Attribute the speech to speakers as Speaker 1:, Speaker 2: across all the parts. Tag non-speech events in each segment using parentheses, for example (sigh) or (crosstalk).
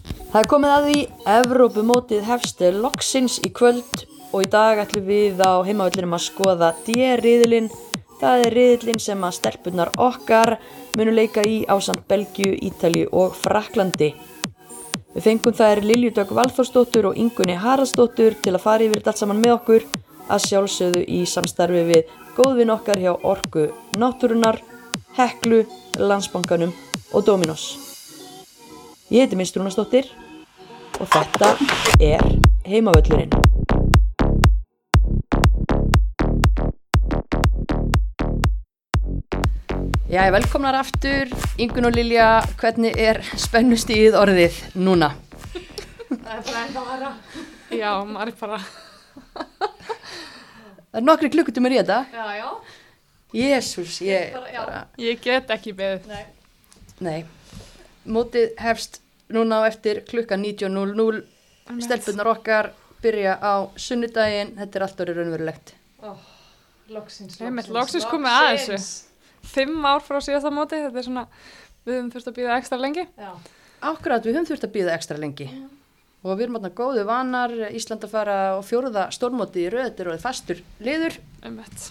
Speaker 1: Það er komið að því, Evrópumótið hefst loksins í kvöld og í dag ætlum við á heimavillinum að skoða D-riðilinn. Það er riðilinn sem að stelpunar okkar munu leika í ásamt Belgiu, Ítalju og Fraklandi. Við fengum þær Lilju Dögg Valþórsdóttur og Ingunni Haraldsdóttur til að fara yfir þetta allt saman með okkur að sjálfsögðu í samstarfi við góðvinn okkar hjá Orku Náttúrunar, Heklu, Landsbankanum og Dominos. Ég heiti Mist Rúnastóttir og þetta er Heimavöllurinn. Já, velkomnar aftur, Ingun og Lilja, hvernig er spennustíð orðið núna?
Speaker 2: Já, maður er bara,
Speaker 1: Það er nokkri klukkutumur í þetta.
Speaker 3: Já, já,
Speaker 1: Jésús, ég
Speaker 3: Bara, já.
Speaker 1: bara,
Speaker 2: ég get ekki beðið.
Speaker 3: nei,
Speaker 1: nei. Mótið hefst núna á eftir klukkan 19.00. Stelpunar okkar byrja á sunnudaginn, þetta er allt orðið raunverulegt.
Speaker 3: loksins,
Speaker 2: Einmitt, loksins komið að þessu. Fimm ár frá síðasta móti, þetta er svona, við höfum þurft að býða ekstra lengi.
Speaker 3: Já,
Speaker 1: Akkurat, við höfum þurft að býða ekstra lengi og við erum átna góðu vanar, Ísland að fara á fjóruða stórmóti í röðetir og fastur liður
Speaker 2: Einmitt.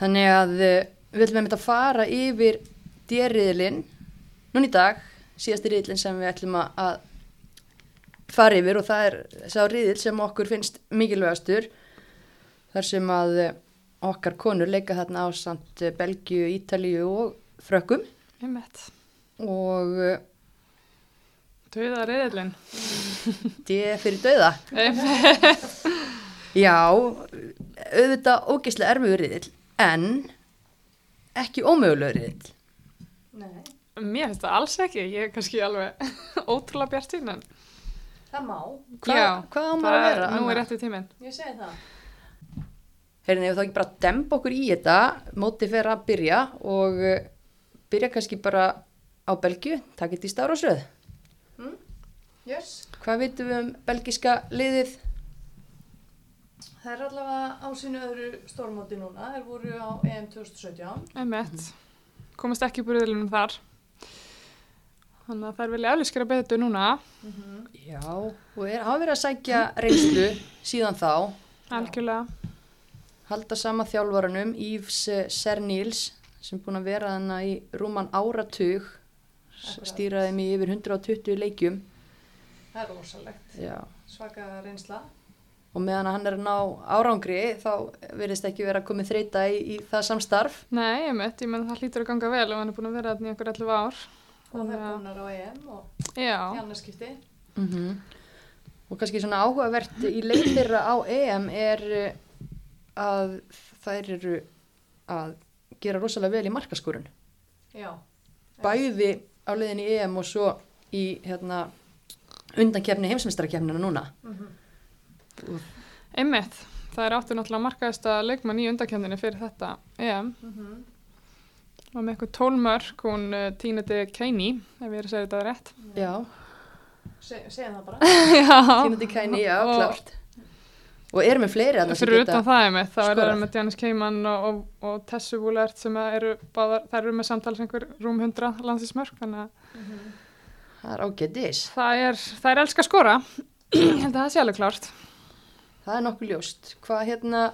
Speaker 1: þannig að eh, við ætlum einmitt að fara yfir dýrriðlinn núna í dag, síðasti riðlinn sem við ætlum að- að fara yfir og það er sá riðil sem okkur finnst mikilvægastur þar sem að eh, okkar konur leika þarna ásamt eh, Belgíu, Ítalíu og frökkum
Speaker 2: Einmitt.
Speaker 1: og eh,
Speaker 2: Dauða reyðilinn.
Speaker 1: D fyrir dauða
Speaker 2: Einmitt.
Speaker 1: Já, auðvitað ógeðslega erfiður riðil, en ekki ómögulegur riðil.
Speaker 3: nei,
Speaker 2: Mér finnst það alls ekki, ég er kannski alveg (laughs) ótrúlega bjart sín, en
Speaker 3: það má,
Speaker 1: Hva,
Speaker 2: Já,
Speaker 1: hvað á maður að
Speaker 2: það,
Speaker 1: vera?
Speaker 2: nú er rétti tíminn.
Speaker 3: ég segi það
Speaker 1: Heyrðin, ef þá ekki bara að demba okkur í þetta, mótið fer að byrja og eh, byrja kannski bara á Belgiu, takk eitt í stárásröð.
Speaker 3: Jöss,
Speaker 1: Hvað vitum við um belgiska liðið?
Speaker 3: það er allavega á sínu öðru stórmóti núna, þeir voru á EM 2017
Speaker 2: Einmitt. Komast ekki upp úr reyðilinnum þar. Þannig að þær vilja eflið skera betur núna,
Speaker 1: Já, og er hafa verið að sækja reynslu síðan þá,
Speaker 2: algjörlega.
Speaker 1: halda sama þjálfvaranum, Yves Serníls, sem er búinn að vera hana í rúman áratug, s-
Speaker 3: Akkurat.
Speaker 1: stýraði mig yfir 120 leikjum.
Speaker 3: Það er rosalegt,
Speaker 1: Já.
Speaker 3: svaka reynsla
Speaker 1: Og meðan að hann er að ná árangri, þá virðist ekki vera komið þreita í, í það samstarf.
Speaker 2: Nei, einmitt, ég menn það hlýtur að ganga vel og hann er búin að vera þarna í okkur 11 ár.
Speaker 3: og það
Speaker 2: Já.
Speaker 3: er konar á EM og í
Speaker 2: Já,
Speaker 3: annarskipti Mhm.
Speaker 1: Og kannski svona áhugavert í leik þeirra á EM er eh, að þær eru að gera rosalega vel í markaskorun.
Speaker 3: Já,
Speaker 1: Bæði á leiðin í EM og svo í hérna, undankefni heimsmeistarakefnina núna.
Speaker 3: Mhm,
Speaker 2: einmitt. Það er áttu náttúrulega markaðista leikmann í undakjöndinni fyrir þetta EM.
Speaker 3: Mhm.
Speaker 2: Og með eitthvað tólmörk, hún uh, týniti Keini, ef ég er að segja þetta rétt.
Speaker 1: Já,
Speaker 3: Se, segja það bara
Speaker 2: Já,
Speaker 1: Timothy Kæni, já,
Speaker 2: Og-
Speaker 1: klárt. Og eru með fleiri að
Speaker 2: Ah. fyrir utan það einmitt. Það er
Speaker 1: skorað.
Speaker 2: það með Janis Keiman og, og, og Tessu Wulert sem að eru, báðar, þær eru með samtals einhver rúm 100 landsinsmörk. Þannig að
Speaker 1: Það er ágætis.
Speaker 2: það er, það er elska að skora. (clears throat) ég held að það sé alveg klárt.
Speaker 1: Það er nokkuð ljóst. Hvað hérna,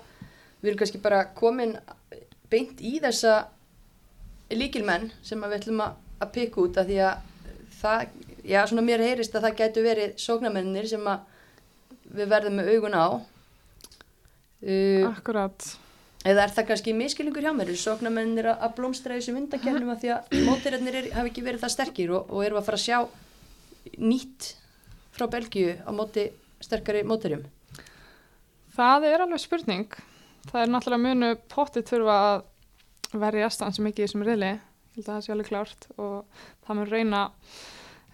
Speaker 1: við erum kannski bara komin beint í þessa líkilmenn sem að við ætlum að, að pikka út af því að það, já, svona mér heyrist að það gætu verið sóknarmennir sem að við verðum með augun á.
Speaker 2: Ah.
Speaker 1: Uh,
Speaker 2: Akkurat.
Speaker 1: eða er það kannski miskilingur hjá mér, eru sóknarmennir að, að blómstra í þessum undakefnum af því að mótirarnir er, hafi ekki verið það sterkir og, og erum að fara að sjá nýtt frá Belgíu á móti sterkari mótirum.
Speaker 2: Það er alveg spurning. Það er náttúrulega munu potti þurfa að verjast hans mikið í þessum riðli. Ég held að það sé alveg klárt og það mun reyna,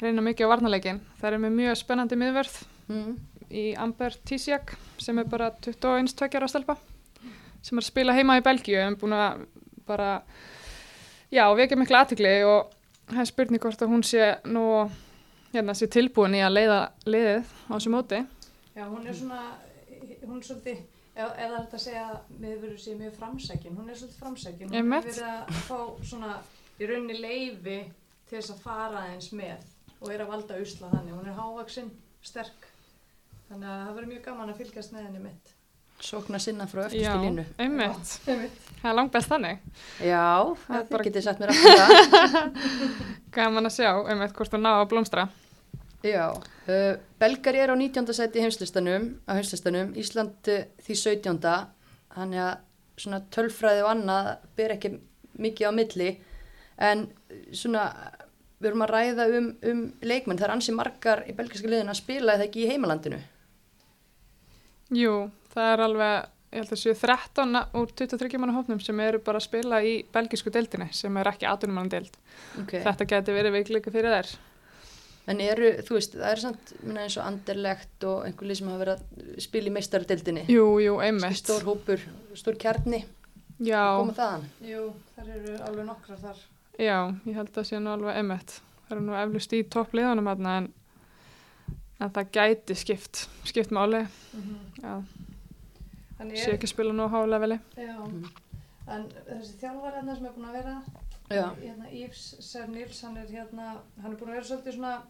Speaker 2: reyna mikið á varnarleikin. Það er með mjög spennandi miðvörð Mhm.
Speaker 1: Mm.
Speaker 2: í Amber Tisiak sem er bara 21 tökjar á stelpa sem er að spila heima í Belgíu en búin að bara já, vekja mikla aðtikli og það er spurning hvort að hún sé nú hérna, sé tilbúin í að leiða liðið á þessu móti.
Speaker 3: Já, hún er svona, hún er svolítið, eða eða er þetta að segja að við verum sér mjög framsækin, hún er svolítið framsækin, hún
Speaker 2: Einmitt.
Speaker 3: verið að fá svona í rauninni leifi til þess að fara aðeins með og og er að valda usla þannig, hún er hávaksinn, sterk þannig að það verður mjög gaman að fylgjast með henni mitt
Speaker 1: Sókna sinna frá
Speaker 2: Já,
Speaker 1: öftustu línu.
Speaker 2: einmitt.
Speaker 3: Einmitt.
Speaker 2: Það er langbest þannig.
Speaker 1: Já,
Speaker 2: Það er
Speaker 1: þið
Speaker 2: bara-
Speaker 1: getið sett mér aftur það.
Speaker 2: Gaman að sjá, einmitt, hvort þú ná að blómstra.
Speaker 1: Já, uh, Belgar er á 19. seti heimslistanum, á heimslistanum, Ísland uh, því 17. Þannig að svona tölfræði og annað ber ekki mikið á milli en uh, svona við erum að ræða um, um leikmenn, það er ansi margar í belgiska liðin að spila eða ekki í heimalandinu.
Speaker 2: Jú, það er alveg, ég held að séu 13 úr 23 manna hópnum sem eru bara að spila í belgísku deildinni sem er ekki 18 manna deild.
Speaker 1: Okay.
Speaker 2: Þetta geti verið veikleika fyrir þær.
Speaker 1: En eru, þú veist, það er samt minna eins og anderlegt og einhver lið sem hafa verið að spila í meistaradeildinni.
Speaker 2: Jú, jú, einmitt.
Speaker 1: Stór hópur, stór kjarni,
Speaker 2: Já,
Speaker 1: koma þaðan.
Speaker 3: Jú, þar eru alveg nokkrar þar
Speaker 2: já, ég held að sé nú alveg einmitt. Það eru nú eflust í toppliðunum hérna en, en það gæti skipt, skipt máli. Já,
Speaker 3: Þannig
Speaker 2: séu
Speaker 3: er,
Speaker 2: ekki að spila nú á hálefeli.
Speaker 3: já
Speaker 1: Mhm.
Speaker 3: En þessi þjálfar hérna sem er búin að vera
Speaker 1: Já,
Speaker 3: hérna, Yves Sir Nils, hann er hérna hann er búin að vera svolítið svona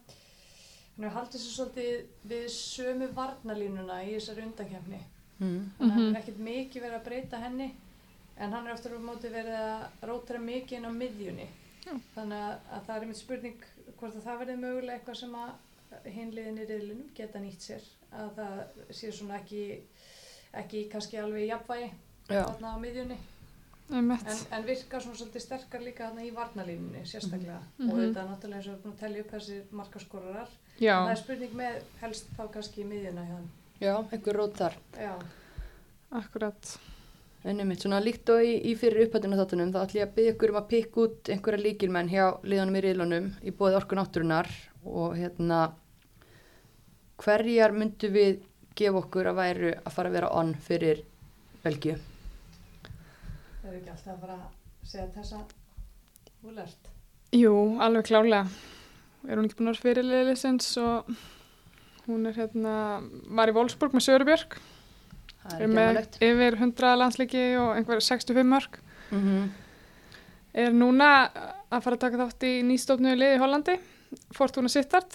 Speaker 3: hann er haldið sér svolítið við sömu varnalínuna í þessari undakefni
Speaker 1: mm.
Speaker 3: þannig að hann
Speaker 2: Mhm.
Speaker 3: er ekkert mikið verið að breyta henni en hann er aftur á móti verið að rótara mikið inn á miðjunni þannig að, að það er einmitt spurning hvort að það verið mögulega eitthvað sem að hinliðin í riðlunum geta nýtt sér að það sé svona ekki ekki kannski alveg í jafnvægi
Speaker 1: já.
Speaker 3: þarna á miðjunni en,
Speaker 2: Einmitt.
Speaker 3: en virka svona svolítið sterkar líka þarna í varnalínunni sérstaklega
Speaker 2: Mhm.
Speaker 3: og þetta er náttúrulega eins og við erum búin að tellja upp þessir markaskorarar
Speaker 2: Já,
Speaker 3: það er spurning með helst þá kannski í miðjuna hjá hann
Speaker 1: Já, einhver rót þar.
Speaker 3: já,
Speaker 2: akkurat.
Speaker 1: Ennum mitt, svona líkt og í, í fyrir upphættinu þáttunum þá ætlum ég að byggja ykkur um að pikka út einhverja líkilmenn hjá liðanum í riðlunum í bóði orku náttúrunar og hérna hverjar myndu við gefa okkur að væru að fara að vera onn fyrir Belgíu?
Speaker 3: það er ekki alltaf að fara að segja þessa úlert
Speaker 2: Jú, alveg klálega. Er hún ekki búin að vera fyrirliði liðsins og hún er hérna, var í Wolfsburg með Sörubjörg.
Speaker 1: Það
Speaker 2: Er
Speaker 1: er
Speaker 2: með
Speaker 1: gemmalegt.
Speaker 2: yfir 100 landsleiki og einhver 65 mörg.
Speaker 1: Mm -hmm.
Speaker 2: Er núna að fara að taka þátt í nýstofnu liði í Hollandi, Fortuna Sittard,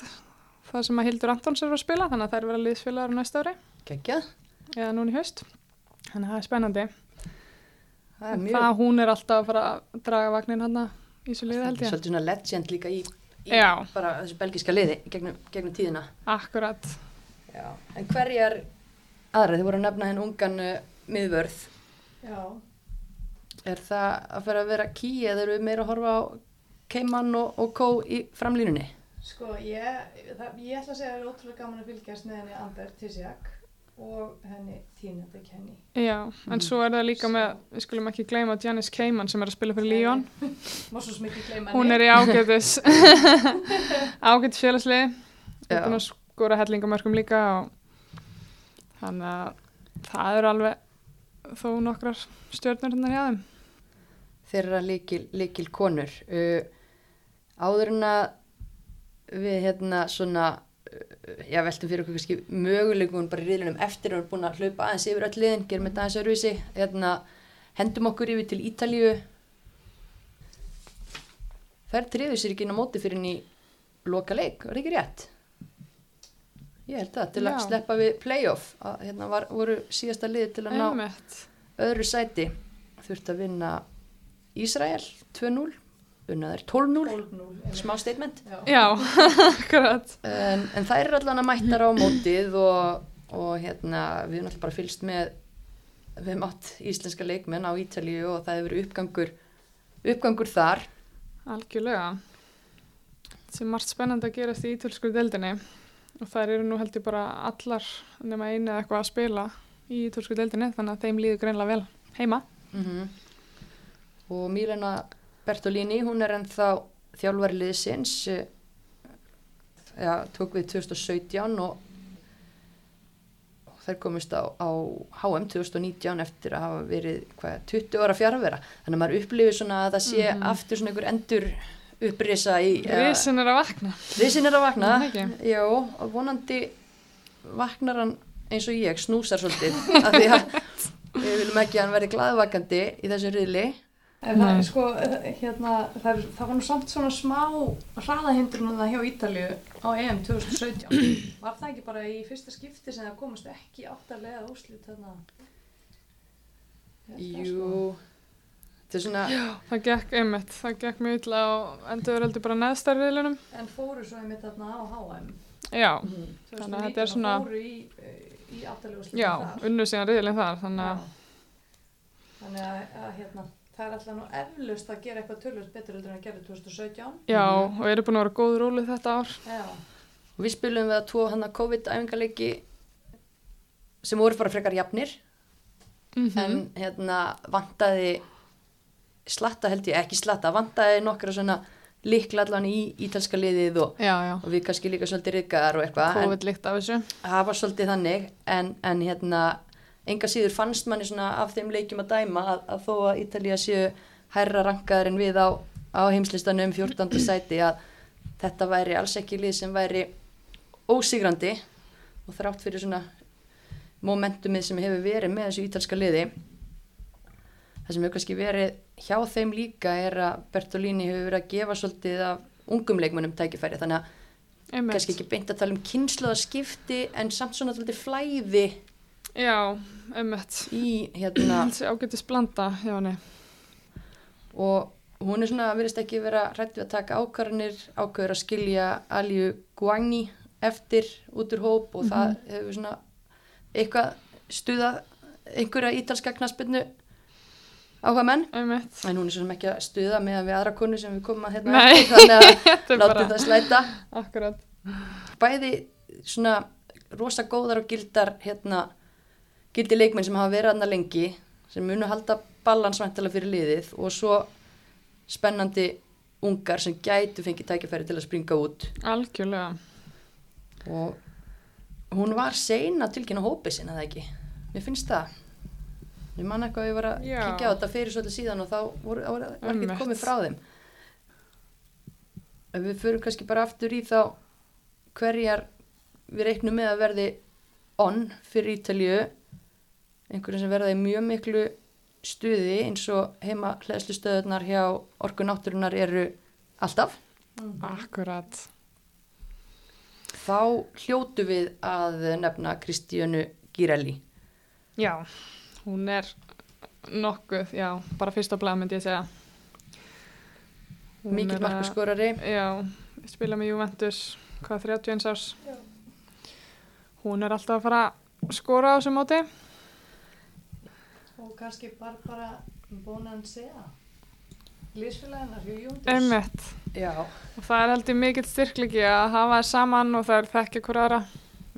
Speaker 2: það sem að Hildur Antons er að spila, þannig að þær vera liðsfélagar á næsta ári,
Speaker 1: Kekjað,
Speaker 2: eða núna í haust. Þannig að það er spennandi.
Speaker 1: það er mjög,
Speaker 2: Það hún er alltaf að fara að draga vagnin hann í svo liði held
Speaker 1: það er
Speaker 2: ég.
Speaker 1: svolítið svona legend líka í, í
Speaker 2: Já.
Speaker 1: bara þessu belgíska liði gegnum, gegnum tíðina.
Speaker 2: Akkurat.
Speaker 1: Já. En hverjar aðra, þið voru að nefna henn ungan uh, miðvörð
Speaker 3: já,
Speaker 1: Er það að fara að vera ký eða eru við meira að horfa á Keiman og, og Kó í framlínunni?
Speaker 3: Sko, ég, það, ég ætla að segja að það er ótrúlega gaman að fylgjast með henni Amber Tissiak og henni Tina de Kenny.
Speaker 2: Já,
Speaker 1: Mm.
Speaker 2: en svo er það líka
Speaker 3: Svo-
Speaker 2: með, við skulum ekki gleyma Janice Kamen sem er að spila fyrir Lyon.
Speaker 3: (laughs) Má svo smikið gleyma
Speaker 2: Hún er í ágætis,
Speaker 1: (laughs)
Speaker 2: ágætis félagsliði, er
Speaker 1: Já.
Speaker 2: búin að skora hellingamörkum líka og þannig að það eru alveg þó nokkrar stjörnur hennar hjá þeim.
Speaker 1: Þeirra líkil, líkil konur. Uh, áður en að við hérna svona, uh, já veltum fyrir okkur kannski möguleikum bara í riðlunum eftir að við erum búin að hlaupa aðeins yfir öll liðin, gerum þetta aðeins öruvísi, hérna hendum okkur yfir til Ítalíu. Þær trefið sér ekki inn á móti fyrir henni loka leik, var ekki rétt? Ég held það, til að
Speaker 2: Já.
Speaker 1: sleppa við playoff, að, hérna var, voru síðasta liði til að ná
Speaker 2: Einmitt.
Speaker 1: öðru sæti þurft að vinna Ísrael 2-0 unnaður 12-0 smá statement
Speaker 3: Já,
Speaker 2: Já, (laughs) akkurat.
Speaker 1: en, en þær eru allan að mættar á mótið og, og hérna við höfum alltaf bara fylgst með við höfum átt íslenska leikmenn á Ítalíu og það hefur verið uppgangur uppgangur þar
Speaker 2: Algjörlega. Það er margt spennandi að gerast í ítölsku deildinni og þær eru nú heldur bara allar nema einu eða eitthvað að spila í ítölsku deildinni þannig að þeim líður greinlega vel heima.
Speaker 1: Mhm. og Milena Bertolini hún er ennþá þjálfari liðsins eh, já, tók við 2017 og og þær komist á, á HM 2019 eftir að hafa verið hvað, 20 ára fjarvera þannig að maður upplifir svona að það sé aftur svona einhver endur upprisa í
Speaker 2: Risin er að vakna.
Speaker 1: risin er að vakna
Speaker 2: Er það Mm, ekki?
Speaker 1: já, og vonandi vaknar hann eins og ég (laughs) snúsar svolítið af því að við viljum ekki að hann verði glaðvakandi í þessu riðli
Speaker 3: En það,
Speaker 2: Nei.
Speaker 3: sko, eh, hérna, það, er, það var nú samt svona smá hraðahindrunum það hjá Ítalju á EM
Speaker 2: (clears throat)
Speaker 3: 2017. Var það ekki bara í fyrsta skipti sem það komast ekki áttalega úrslit þarna? Þetta,
Speaker 1: Jú, þetta er svona,
Speaker 2: Það gekk einmitt, það gekk mjög illa og endur heldur bara neðstar riðlunum.
Speaker 3: Sko, en fóru svo einmitt þarna á HM.
Speaker 2: Já, Þannig að
Speaker 3: 2019
Speaker 2: þetta er svona-
Speaker 3: Fóru í, eh, í áttalega úrslit
Speaker 2: já, unnu síðan riðlinn þar, þannig að,
Speaker 3: Þannig að, að hérna, það er alltaf nú eflaust að gera eitthvað tölvöld betur heldur en að gera 2017.
Speaker 2: já, og eru búin að vera góð rólu þetta ár.
Speaker 3: Já,
Speaker 1: og við spilum við að tvo hann að COVID-æfingarleiki sem voru bara frekar jafnir
Speaker 2: Mm
Speaker 1: en hérna vantaði slatta held ég, ekki slatta vantaði nokkra svona líkla allan í ítalska liðið og,
Speaker 2: Já, já,
Speaker 1: og við kannski líka svolítið reyðgar og eitthvað en
Speaker 2: COVID líkt af þessu.
Speaker 1: það var svolítið þannig en, en hérna enga síður fannst manni svona af þeim leikjum að dæma að, að þó að Ítalía séu hærra rankaður en við á, á heimslistanum 14. sæti að þetta væri alls ekki lið sem væri ósigrandi og þrátt fyrir svona momentumið sem hefur verið með þessu ítalska liði það sem hefur kannski verið hjá þeim líka er að Bertolini hefur verið að gefa svolítið af ungum leikmönnum tækifæri þannig að
Speaker 2: Einmitt.
Speaker 1: kannski ekki beint að tala um kynnslóðaskipti en samt svona þetta flæði
Speaker 2: Já, einmitt.
Speaker 1: í hérna
Speaker 2: Þessi ágætis blanda hjá henni.
Speaker 1: og hún er svona, verðist ekki vera hrætt við að taka ákvarðanir, ákvarður að skilja Aliu Guagni eftir út úr hóp og
Speaker 2: Mhm.
Speaker 1: það hefur svona eitthvað stuðað einhverja ítalska knaspinnu áhuga menn
Speaker 2: Einmitt.
Speaker 1: en hún er svona ekki að stuða með við aðra konu sem við komum að hérna
Speaker 2: Nei.
Speaker 1: eftir, þannig að
Speaker 2: (laughs) Þetta er
Speaker 1: látum
Speaker 2: bara,
Speaker 1: það slæta
Speaker 2: akkurat.
Speaker 1: bæði svona rosa góðar og gildar hérna, gildi leikmenn sem hafa verið annað lengi sem munu halda ballansvæntalega fyrir liðið og svo spennandi ungar sem gætu fengið tækifæri til að springa út
Speaker 2: Algjörlega.
Speaker 1: og hún var sein að tilkynna hópið sinna það ekki mér finnst það ég man eitthvað að ég var að
Speaker 2: Já.
Speaker 1: kíkja á þetta fyrir svolítið síðan og þá voru, var, var ekki
Speaker 2: Einmitt.
Speaker 1: komið frá þeim ef við förum kannski bara aftur í þá hverjar við reiknum með að verði on fyrir Ítalju einhverjum sem verða í mjög miklu stuði eins og heima hlæðslu stöðunar hjá orgu náttúrunar eru alltaf
Speaker 2: Akkurat.
Speaker 1: þá hljótu við að nefna Kristíönu Girelli
Speaker 2: Já, hún er nokkuð, já, bara fyrst á blað myndi ég segja. Hún
Speaker 1: mikill
Speaker 2: er eh, að-
Speaker 1: markaskorari
Speaker 2: Já, spila með Juventus, hvað, 31 árs? Já. Hún er alltaf að fara að skora á þessu móti.
Speaker 3: og kannski Barbara Bonansea, lýsfélagina hjá Júndis.
Speaker 2: Einmitt.
Speaker 1: já
Speaker 2: Og það er heldur mikill styrklegi að hafa þær saman og það er þekkja hver aðra.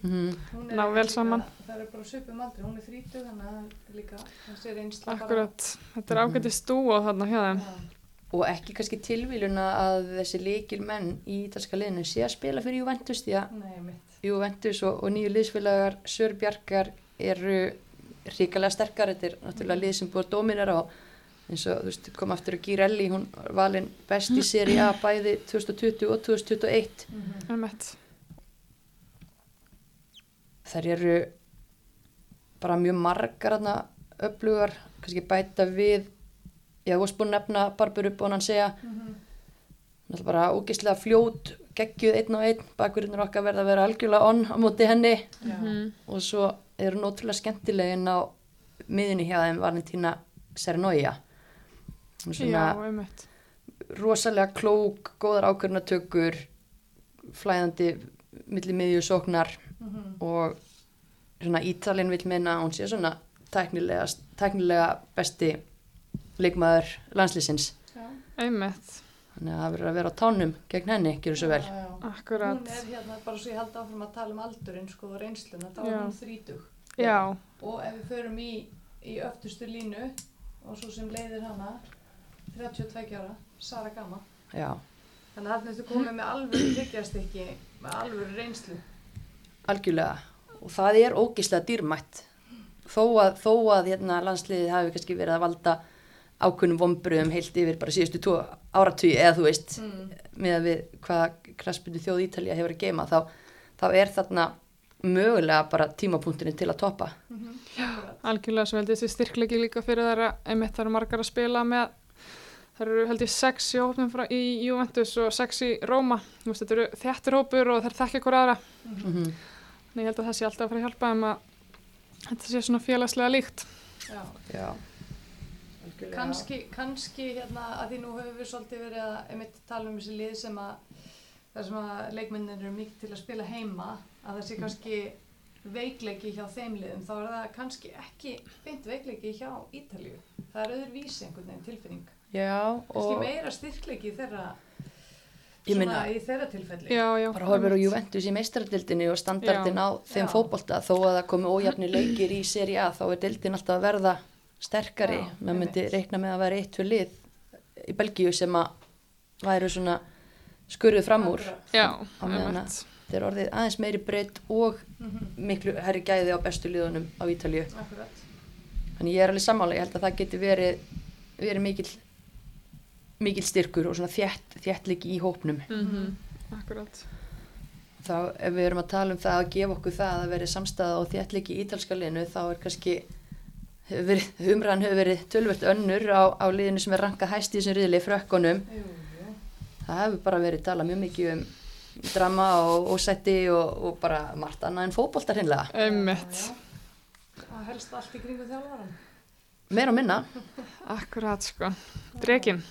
Speaker 1: Mhm.
Speaker 3: Hún er
Speaker 2: Ná vel
Speaker 3: líka-
Speaker 2: saman.
Speaker 3: Það er bara á svipum aldrei, hún er 30 þannig að það er líka, hans er einsla
Speaker 2: Akkurat, þetta er
Speaker 3: Mhm.
Speaker 2: ágætti stúa þarna hjá þeim.
Speaker 3: Já,
Speaker 1: og ekki kannski tilvíluna að þessi leikil menn í ítalska liðinu sé að spila fyrir Juventus því að
Speaker 3: nei mitt.
Speaker 1: Juventus og, og nýju liðsfélagar Sörbjarkar eru ríkalega sterkar, þetta er náttúrulega lið sem búið að dominera á eins og þú veist, kom aftur að Girelli, hún var valin best í seri A bæði 2020 og 2021
Speaker 3: Mhm.
Speaker 2: Einmitt.
Speaker 1: þær eru bara mjög margar þarna öflugar, kannski bæta við já, þú varst búin að nefna Barbur upp og hann segja náttúrulega bara ógislega fljót geggjuð einn og einn, bakurinnur okkar verða að vera algjörlega onn á móti henni
Speaker 3: Já.
Speaker 1: og svo er hún ótrúlega skemmtilegin á miðinni hjá þeim Valentína Sernója hún er
Speaker 2: Já,
Speaker 1: svona
Speaker 2: einmitt.
Speaker 1: rosalega klók, góðar ákvörnatökur flæðandi milli miðjusóknar
Speaker 3: Mhm.
Speaker 1: og svona Ítalinn vil minna að hún sé svona tæknilega, tæknilega besti leikmaður landslýsins
Speaker 3: Já.
Speaker 2: Einmitt.
Speaker 1: þannig að það verður að vera á tánum gegn henni, gjör svo vel
Speaker 3: Já, já. Hún
Speaker 2: Akkurat.
Speaker 3: er hérna, bara svo ég held áfram að tala um aldurinn sko og reynsluna, þá
Speaker 2: Já.
Speaker 3: er hún 30.
Speaker 2: Já,
Speaker 3: Og ef við förum í, í öftustu línu og svo sem leiðir hana, 32 ára, Sara Gama.
Speaker 1: Já,
Speaker 3: Þannig að þetta komið með alvöru tryggjast ekki, með alvöru reynslu.
Speaker 1: algjörlega og það er ógislega dýrmætt þó að, þó að hérna, landsliðið hafi kannski verið að valda ákunnum vombruðum heilt yfir bara síðustu tvo áratugi eða þú veist
Speaker 3: Mm.
Speaker 1: með að við hvað kraspinu þjóð Ítalja hefur að geima þá, þá er þarna mögulega bara tímapunkturinn til að toppa
Speaker 3: Mm -hmm.
Speaker 2: algjörlega sem heldur þessi styrklegi líka fyrir þær að einmitt það eru margar að spila með Það eru held ég sex í hópnum frá, í Juventus og sex í Róma. Þú veist, Þetta eru þjættir hópur og þær þekkja hver aðra.
Speaker 1: Mhm.
Speaker 2: Þannig ég held að það sé alltaf að fara að hjálpa þeim að þetta sé svona félagslega líkt.
Speaker 3: Já,
Speaker 1: Já,
Speaker 3: Mm-hmm. kannski, kannski hérna að því nú höfum við svolítið verið að einmitt tala um þessi lið sem að þar sem að leikmennir eru mikið til að spila heima að það sé
Speaker 1: Mm.
Speaker 3: kannski veikleiki hjá þeim liðum þá er það kannski ekki beint veikleiki hjá Ítalíu það er öður vísi einhvern veginn tilfinning
Speaker 1: já
Speaker 3: kannski
Speaker 1: og
Speaker 3: meira styrkleiki í þeirra
Speaker 1: Ég meina-
Speaker 3: í þeirra tilfelli
Speaker 2: Já, já.
Speaker 1: bara horfir á Juventus í meistaradildinni og standardin
Speaker 2: Já.
Speaker 1: á þeim
Speaker 3: Já.
Speaker 1: fótbolta þó að það komi ójafni leikir í seri A þá er dildin alltaf að verða sterkari
Speaker 3: Já,
Speaker 1: maður myndi
Speaker 3: einmitt.
Speaker 1: reikna með að vera eitt fyrir lið í Belgíu sem að væru svona skurðu fram úr
Speaker 3: Akkurat.
Speaker 2: Já,
Speaker 1: á meðan að
Speaker 2: einmitt.
Speaker 1: þetta er orðið aðeins meiri breytt og miklu herri gæði á bestu liðunum á Ítalíu
Speaker 3: Mhm. akkurat
Speaker 1: þannig ég er alveg sammála, ég held að það geti verið verið mikill mikill styrkur og svona þjætt, þjættliki í hópnum
Speaker 2: Mhm, Akkurat.
Speaker 1: þá ef við erum að tala um það að gefa okkur það að verið samstæða og þjættliki í ítalska liðinu þá er kannski hefur verið, umræðan hefur verið tölvöld önnur á, á liðinu sem er rankað hæst í þessum riðli frökkunum
Speaker 3: jú, jú.
Speaker 1: það hefur bara verið talað mjög mikið um drama og ósetti og, og bara margt annað en fótbolta hinnlega
Speaker 2: Einmitt.
Speaker 3: Já, já. og helst allt í kringu þjálfaran
Speaker 1: meira og minna,
Speaker 2: Akkurat, sko. Drekinn.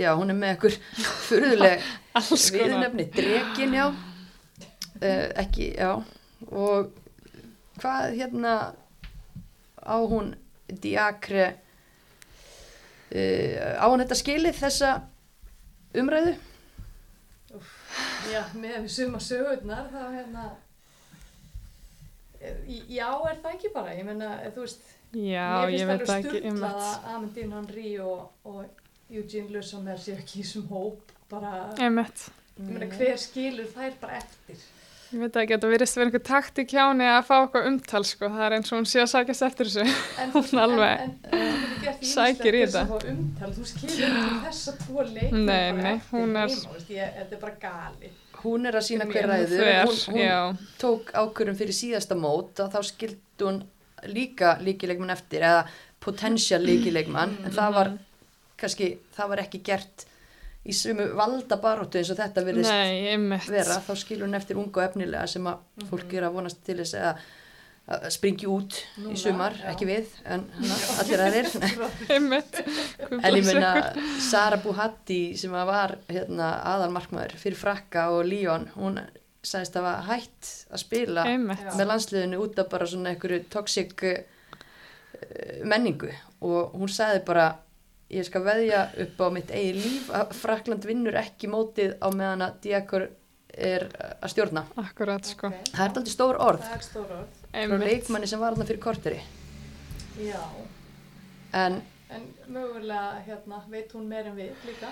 Speaker 1: já hún er með ykkur furðuleg
Speaker 2: Alls konar.
Speaker 1: viðnefni, drekin já uh, ekki, já og hvað hérna á hún diakre uh, á hún þetta skilið þessa umræðu
Speaker 3: Já, með við suma sögurnar þá hérna Í- Já, er það ekki bara, ég meina, þú veist
Speaker 2: Já, ég veit það ekki.
Speaker 3: Mér finnst alveg
Speaker 2: um Einmitt.
Speaker 3: sturglað að Amandine Henry og, og Eugene Lusson er sér ekki í þessum hóp bara,
Speaker 2: Einmitt.
Speaker 3: ég meina, hver skilur þær bara eftir
Speaker 2: Ég veit ekki, þetta virðist verið einhver taktík hjá henni að fá eitthvað umtal, sko. Það er eins og hún sé að sækjast eftir þessu.
Speaker 3: En
Speaker 2: Hún alveg
Speaker 3: en, en, en, þú
Speaker 2: (laughs)
Speaker 3: getur gert
Speaker 2: sækir í
Speaker 3: ýmislegt til þess að
Speaker 2: þetta.
Speaker 3: fá Umtal, þú skilur ekki þessa tvo leikmenn
Speaker 2: Nei,
Speaker 3: bara
Speaker 2: nei,
Speaker 3: eftir
Speaker 2: hún er-
Speaker 3: heima, þú veist, ég, Þetta er bara gali
Speaker 1: hún er að sína hver
Speaker 2: Mjög
Speaker 1: ræður
Speaker 2: þver,
Speaker 1: hún, hún
Speaker 2: já.
Speaker 1: tók ákvörum fyrir síðasta mót að þá skildi hún líka líkilegmann eftir eða potential líkilegmann en það
Speaker 2: Mm.
Speaker 1: var kannski, það var ekki gert í sumu valdabaróttu eins og þetta virðist
Speaker 2: Nei, einmitt.
Speaker 1: vera, þá skilur hún eftir unga og efnilega sem
Speaker 3: Mhm.
Speaker 1: að fólk er að vonast til þess að, að springi út
Speaker 3: Mhm. Núna,
Speaker 1: í sumar,
Speaker 3: já.
Speaker 1: ekki við
Speaker 3: (laughs)
Speaker 1: en hana, allir aðrir
Speaker 2: Einmitt.
Speaker 1: en ég meina Sara Buhatti sem að var hérna, aðalmarkmaður fyrir frakka og Líón hún sagðist að var hætt að spila
Speaker 2: Einmitt.
Speaker 3: Já.
Speaker 1: með landsliðinu út af bara svona einhverju toxic uh, menningu og hún sagði bara ég skal veðja upp á mitt eigin líf að Frakland vinnur ekki mótið á meðan að Diakor er eh, að stjórna.
Speaker 2: Akkurat, sko.
Speaker 3: Ok,
Speaker 1: Það er aldrei stór orð
Speaker 3: Það er stór orð
Speaker 1: frá
Speaker 2: Einmitt.
Speaker 1: leikmanni sem var hann fyrir korteri
Speaker 3: Já
Speaker 1: en
Speaker 3: En mögulega, hérna, veit hún meir en við líka.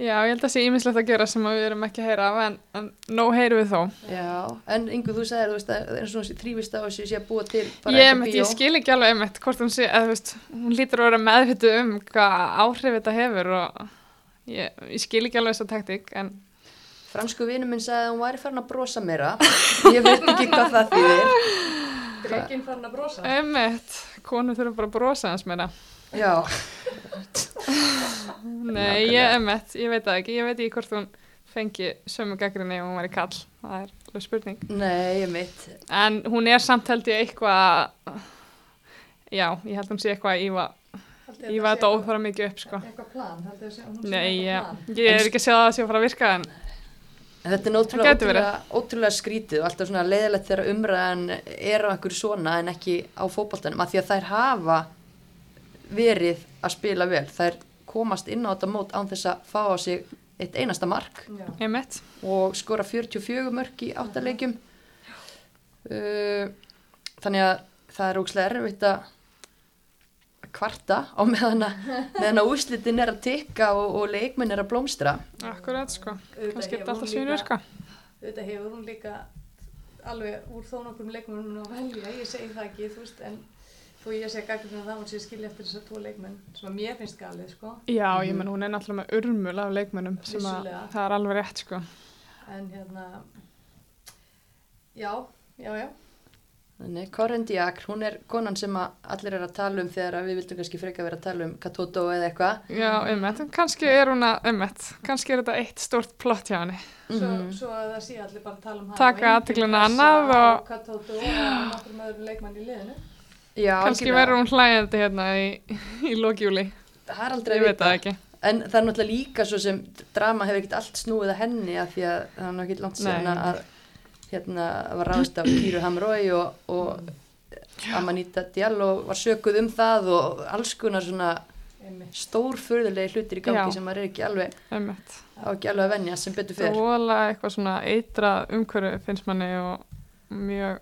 Speaker 2: Já, ég held að sé ímislegt að gera sem að við erum ekki að heyra af, en, en nóg heyrum við þó.
Speaker 1: já, en yngu þú sagðir þú veist að eins og hún sé þrývist á þessu sé að búa til bara
Speaker 2: Ég,
Speaker 1: eitthvað
Speaker 2: einmitt, ég skil ekki alveg einmitt hvort hún sé, eða þú veist, hún lítur að vera meðvituð um hvað áhrif þetta hefur og ég, ég skil ekki alveg þessa taktík, en
Speaker 1: fransku vinur minn sagði að hún væri farin að brosa meira ég veit ekki hvað það þýðir
Speaker 3: Drekinn farin að
Speaker 2: Eh,
Speaker 3: brosa.
Speaker 2: einmitt, konur þurfum bara að brosa hans meira.
Speaker 1: já,
Speaker 2: Nei, ég, einmitt, ég veit það ekki, ég veit ekki hvort hún fengi sömu gaggrinni ef hún væri kall, það er alveg spurning.
Speaker 1: nei, ég mitt
Speaker 2: En hún er samt held ég eitthvað, já, ég held hún sé eitthvað að íva,
Speaker 3: Haldið þið
Speaker 2: íva
Speaker 3: sé
Speaker 2: þetta óþvara mikið upp, sko.
Speaker 3: eitthvað- Eitthvað plan, haldið þið að sé- hún sé
Speaker 2: Nei,
Speaker 3: eitthvað
Speaker 2: já,
Speaker 3: plan.
Speaker 2: ég er ekki að segja það að sé að fara að virka, en
Speaker 1: En Þetta er
Speaker 2: Það
Speaker 1: ótrúlega,
Speaker 2: gæti verið.
Speaker 1: ótrúlega, ótrúlega skrítið og alltaf svona leiðilegt þegar umræðan er á einhverju svona en ekki á fótboltanum að því að þær hafa verið að spila vel. Þær komast inn á þetta mót án þess að fá á sig eitt einasta mark
Speaker 3: Já.
Speaker 2: einmitt,
Speaker 1: og skora 44 mörk í áttalegjum. Uh, þannig að það er ókslega erfitt að kvarta á meðan að, meðan að úslitin er að tikka og, og leikminn er að blómstra.
Speaker 2: akkurat, sko.
Speaker 3: Auðvitað
Speaker 2: Kannski
Speaker 3: hefur
Speaker 2: er þetta alltaf
Speaker 3: hún
Speaker 2: sko. sínu
Speaker 3: líka-
Speaker 2: virka.
Speaker 3: Auðvitað hefur hún líka alveg úr þó nokkrum leikmennum að velja, ég segi það ekki, þú veist, en þó ég segi gaggrinn að það hún sé að skilja eftir þessar tvo leikmenn sem að mér finnst galið, sko.
Speaker 2: Já, ég menn hún er náttúrulega með urmul af leikmönnum sem að
Speaker 3: Vissulega.
Speaker 2: það er alveg rétt sko.
Speaker 3: En hérna, já, já, já.
Speaker 1: Þannig, Korendiak, hún er konan sem að allir er að tala um þegar að við vildum kannski freka vera að tala um Katoto eða eitthvað.
Speaker 2: Já, ummitt, kannski er hún að, ummitt, kannski er þetta eitt stórt plott hjá henni.
Speaker 3: svo,
Speaker 1: Mhm.
Speaker 3: svo að það sé allir bara að tala um hann
Speaker 2: Mhm. Taka athyglina annað og-
Speaker 3: Katóto og nokkrum öðrum leikmann í liðinu
Speaker 1: Já,
Speaker 2: Kannski
Speaker 1: algjörlega.
Speaker 2: verður hún hlægjandi hérna í, í lokjúli,
Speaker 1: Það er aldrei að
Speaker 2: ég veit
Speaker 1: vita.
Speaker 2: það ekki.
Speaker 1: En það er náttúrulega líka svo sem drama hefur ekkert allt snúið að henni af því að það er náttúrulega ekki langt síðan
Speaker 2: Nei.
Speaker 1: að hérna var ráðist af Kýru Hamrói og, og Amanita Diallo var sökuð um það og alls konar svona
Speaker 3: Einmitt.
Speaker 1: stórfurðulegi hlutir í gangi
Speaker 2: Já.
Speaker 1: sem maður er ekki alveg
Speaker 2: Ummitt,
Speaker 1: á ekki alveg að venja sem betur
Speaker 2: það
Speaker 1: fyrr.
Speaker 2: vola eitthvað svona eitrað umhverju finnst manni og mjög,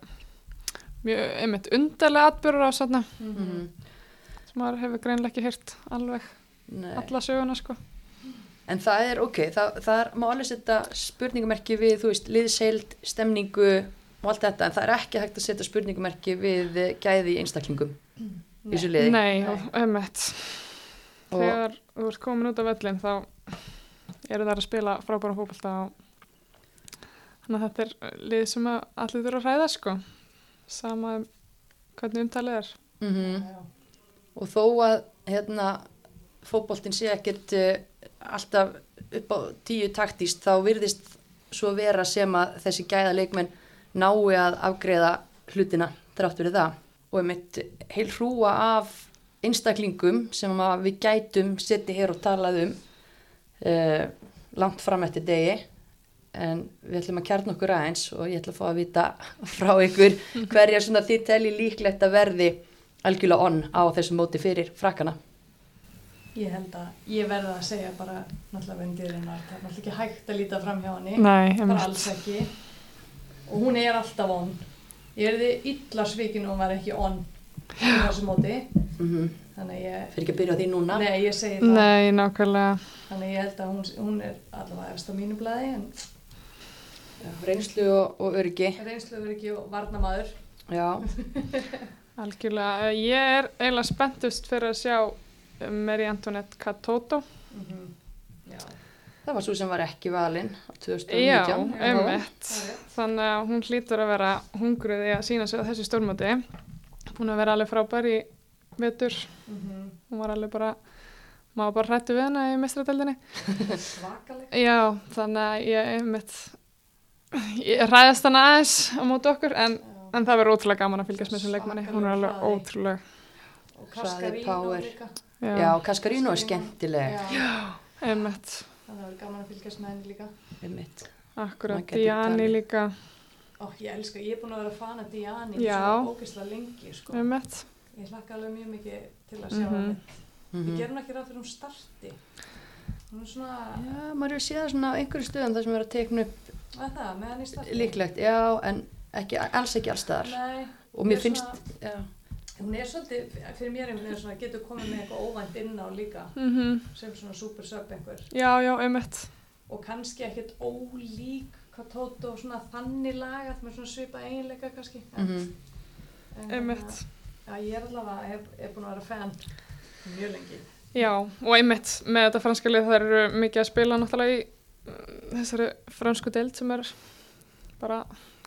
Speaker 2: mjög, ummitt, undarlega atbyrður á svona,
Speaker 1: Mm.
Speaker 2: Mhm. sem maður hefur greinlega ekki hýrt alveg,
Speaker 1: Nei.
Speaker 2: alla söguna sko.
Speaker 1: En það er ok, það, það er, má alveg setja spurningumerki við, þú veist, liðseild, stemningu og allt þetta, en það er ekki hægt að setja spurningumerki við eh, gæði í einstaklingum í þessu liði.
Speaker 2: Nei,
Speaker 3: Nei.
Speaker 2: ummitt,
Speaker 1: Og-
Speaker 2: þegar þú ert komin út af völlin þá eru þær að spila frábæra fókbalta og þannig að þetta er lið sem að allir þurfa að hræða sko sama um hvernig umtalið er
Speaker 1: Mhm.
Speaker 3: Já.
Speaker 1: Og þó að hérna, fótboltin sé ekkert uh, alltaf upp á tíu taktíst, þá virðist svo vera sem að þessi gæða leikmenn nái að afgreða hlutina þrátt fyrir það. Og einmitt heil hrúa af einstaklingum sem að við gætum setið hér og talað um uh, langt fram eftir degi en við ætlum að kjarna okkur aðeins og ég ætla að fá að vita (laughs) frá ykkur hverja svona þið telji líklegt að verði algjörlega onn á þessu móti fyrir frakkana.
Speaker 3: Ég held að ég verða að segja bara náttúrulega vendirinnar, það er náttúrulega ekki hægt að líta fram hjá henni,
Speaker 2: Nei,
Speaker 3: bara alls ekki og hún er alltaf onn ég er þið illa svikin og hún var ekki onn í þessu móti
Speaker 1: Mm
Speaker 2: Mhm.
Speaker 1: -hmm.
Speaker 3: þannig að ég,
Speaker 1: Fyrir ekki að byrja á því núna.
Speaker 3: nei, ég segi það
Speaker 2: Nei, nákvæmlega
Speaker 3: þannig að ég held að hún, hún er allavega efst á mínu blaði en
Speaker 1: Já, Reynslu og, og öryggi.
Speaker 3: reynsluður ekki og varnamaður
Speaker 1: Já,
Speaker 2: algjörlega, Eh, ég er eiginlega spenntust fyrir að sjá Mary Antoinette Katoto
Speaker 3: mm já,
Speaker 1: það var svo sem var ekki valinn á
Speaker 2: Já,
Speaker 1: 2019.
Speaker 2: ummitt
Speaker 3: það er rétt.
Speaker 2: þannig að hún hlýtur að vera hungruð í að sína sig á þessu stórmóti hún að vera alveg frábær í vetur
Speaker 3: Mhm.
Speaker 2: hún var alveg bara maður var bara hrættu við hana í mestrateldinni
Speaker 3: svakaleg
Speaker 2: já, þannig að ég einmitt ég ræðast hana aðeins á móti okkur en,
Speaker 3: Já.
Speaker 2: en það verður ótrúlega gaman að fylgjast með þessum leikmanni hún
Speaker 3: Svakalegur
Speaker 2: er alveg
Speaker 3: hraði.
Speaker 2: ótrúlega
Speaker 3: og
Speaker 1: Hraði,
Speaker 3: Kaskarino
Speaker 1: power.
Speaker 3: líka
Speaker 2: já,
Speaker 1: Já, Kaskarino er skemmtileg.
Speaker 3: Já,
Speaker 2: einmitt,
Speaker 3: þannig að það er gaman að fylgjast með henni líka
Speaker 1: Einmitt.
Speaker 2: akkurat,
Speaker 1: Maður getur
Speaker 2: Diani
Speaker 1: talið.
Speaker 2: líka
Speaker 3: Ó, ég elska, ég er búin að vera fana Diani
Speaker 2: Já.
Speaker 3: svo ógeðslega lengi, sko.
Speaker 2: einmitt,
Speaker 3: Ég hlakka alveg mjög mikið til að sjá mm
Speaker 2: Mhm.
Speaker 3: -hmm.
Speaker 1: Um. Mhm.
Speaker 3: Ég ger hún ekki ráð fyrir hún starti. Hún er svona,
Speaker 1: Já, maður er síðan svona á einhverju stöðum þar sem er að tekna upp
Speaker 3: að það, með hann í starti.
Speaker 1: líklegt. Já, en ekki, alls ekki allstaðar.
Speaker 3: Nei,
Speaker 1: Og mér
Speaker 3: Ég er
Speaker 1: finnst,
Speaker 3: svona-
Speaker 1: já,
Speaker 3: hún er svolítið, fyrir mér er hún svona, getur komið með eitthvað óvænt inn á líka,
Speaker 2: mm
Speaker 3: sem svona super sub einhver.
Speaker 2: já, já, einmitt
Speaker 3: Og kannski ekkert ólík hvað Tóto svona þannig lagað, með svona svipa eiginleika kannski. En-
Speaker 1: mhm.
Speaker 3: en
Speaker 2: einmitt,
Speaker 3: hérna, Já, ég er allavega, er, er búin að vera fan mjög lengi.
Speaker 2: já, og einmitt með þetta franska lið það eru mikið að spila náttúrulega í uh, þessari fransku deild sem er bara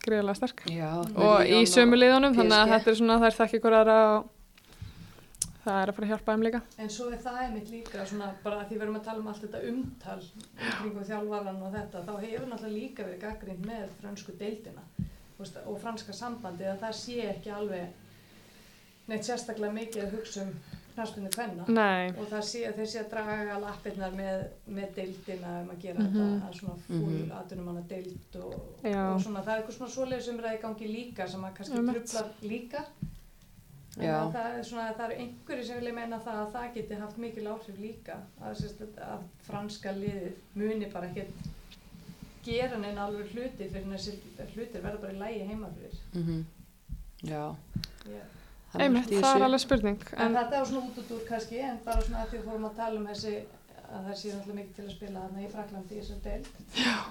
Speaker 2: greiðlega sterk
Speaker 1: já.
Speaker 2: og í sömu liðunum þannig að
Speaker 1: PSG.
Speaker 2: þetta er svona þær þekki ykkur aðra og það er að fara að hjálpa þeim líka
Speaker 3: En svo er það einmitt líka svona bara að því við erum að tala um allt þetta umtal umkringum þjálfaran og þetta þá hefur náttúrulega líka verið gaggrind með fransku deildina þú veist, og franska sambandi að það sé ekki alveg neitt sérstaklega mikið að hugsa um knarspunni kvenna
Speaker 2: Nei,
Speaker 3: og það sé að þeir sé að draga lappirnar með, með deildina um að gera
Speaker 2: Mhm.
Speaker 3: þetta að svona fúl mm
Speaker 1: Mhm.
Speaker 3: atvinnumanna deild og,
Speaker 2: Já.
Speaker 3: og svona það er eitthvað svona svoleiðis umræði í gangi líka sem að kannski
Speaker 2: Einmitt.
Speaker 3: trublar líka En
Speaker 1: Já.
Speaker 3: að það, er svona, það eru einhverju sem vilja meina það að það geti haft mikil áhrif líka að, sérst, að franska liðið muni bara ekkert gera neina alveg hluti fyrir þessi hlutir verða bara í lægi heima fyrir
Speaker 1: Mhm. Já.
Speaker 3: yeah.
Speaker 1: Það er margt
Speaker 2: einmitt,
Speaker 1: í
Speaker 2: það
Speaker 1: þessu.
Speaker 2: er alveg spurning
Speaker 3: en,
Speaker 2: en,
Speaker 3: þetta er svona út út úr kannski en bara svona að því við fórum að tala um þessi að það sé náttúrulega mikið til að spila þarna í Fraklandi í þessar deild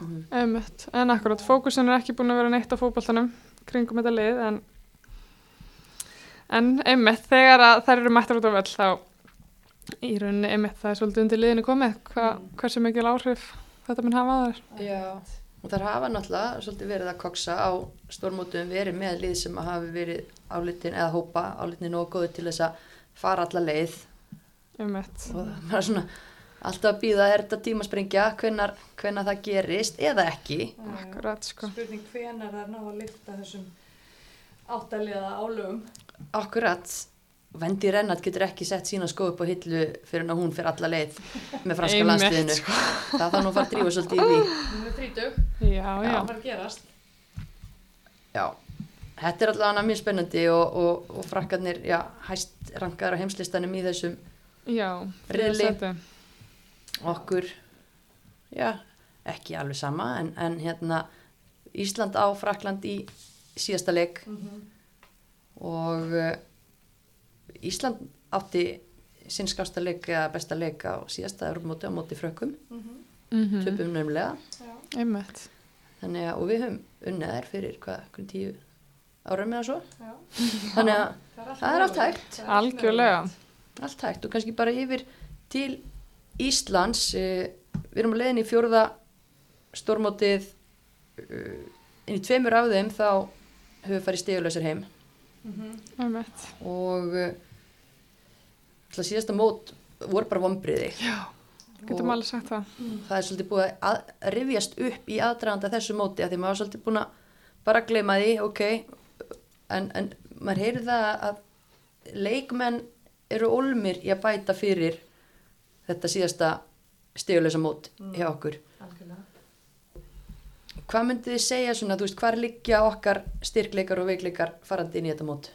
Speaker 1: Mhm.
Speaker 2: einmitt, en akkurat, fókusin er ekki búin að vera neitt á fótboltanum kringum þetta lið en, en einmitt, þegar að þær eru mættar út á völl þá í rauninni einmitt það er svolítið undir liðinu komið hva,
Speaker 3: Mm.
Speaker 2: hversu mikil áhrif þetta mun hafa á þær
Speaker 1: Já. og þar hafa náttúrulega svolítið verið að koksa á stórmótum verið með lið sem að hafi verið álitin eða hópa álitin og góði til þess að fara alla leið
Speaker 2: um mitt.
Speaker 1: og það er bara svona alltaf að býða er þetta tímasprengja hvenar, hvenar það gerist eða ekki
Speaker 2: Akkurat, sko.
Speaker 3: Spurning hvenar það er náða að lifta þessum áttaliða álögum.
Speaker 1: akkurat Vendi Rennart getur ekki sett sína skó upp á hillu fyrir en að hún fyrir alla leið með franska
Speaker 2: Einmitt,
Speaker 1: landsliðinu það þarf nú að fara að drífa svolítið í því
Speaker 3: Hún er þrítug,
Speaker 2: Já, já.
Speaker 3: það var að gerast.
Speaker 1: Já, þetta er allavega mjög spennandi og, og, og frakkarnir já, hæst rankaður á heimslistanum í þessum
Speaker 2: Já.
Speaker 1: Riðli.
Speaker 2: Riðli.
Speaker 1: okkur já, ekki alveg sama en, en hérna Ísland á Frakland í síðasta leik
Speaker 3: Mhm,
Speaker 1: og uh, Ísland átti sinn skásta leik eða besta leik á síðasta Europamóti á móti frökkum,
Speaker 2: Mhm.
Speaker 1: töpum nöfnlega
Speaker 3: Já.
Speaker 2: Einmitt.
Speaker 1: þannig að, og við höfum unnið þær fyrir hvað, hvernig tíu árum eða svo
Speaker 3: Já.
Speaker 1: þannig að Það er allt
Speaker 3: mögulegt.
Speaker 1: hægt.
Speaker 3: Það er allt
Speaker 2: Algjörlega.
Speaker 1: allt hægt og kannski bara yfir til Íslands eh, við erum að leiðin í fjórða stórmótið eh, en í tveimur af þeim þá höfum við farið stegulösar heim
Speaker 3: Mhm,
Speaker 2: Einmitt.
Speaker 1: og eh, alltaf síðasta mót voru bara vombriði
Speaker 2: Getum
Speaker 1: Og-
Speaker 2: alveg sagt það.
Speaker 1: það er svolítið búið að að rifjast upp í aðdraganda þessu móti að því maður var svolítið búin að bara gleyma því, ok en, en maður heyrði það að leikmenn eru olmir í að bæta fyrir þetta síðasta stegulösa mót hjá okkur
Speaker 3: Algjörlega.
Speaker 1: hvað myndið þið segja svona, þú veist, hvar liggja okkar styrkleikar og veikleikar farandi inn í þetta mót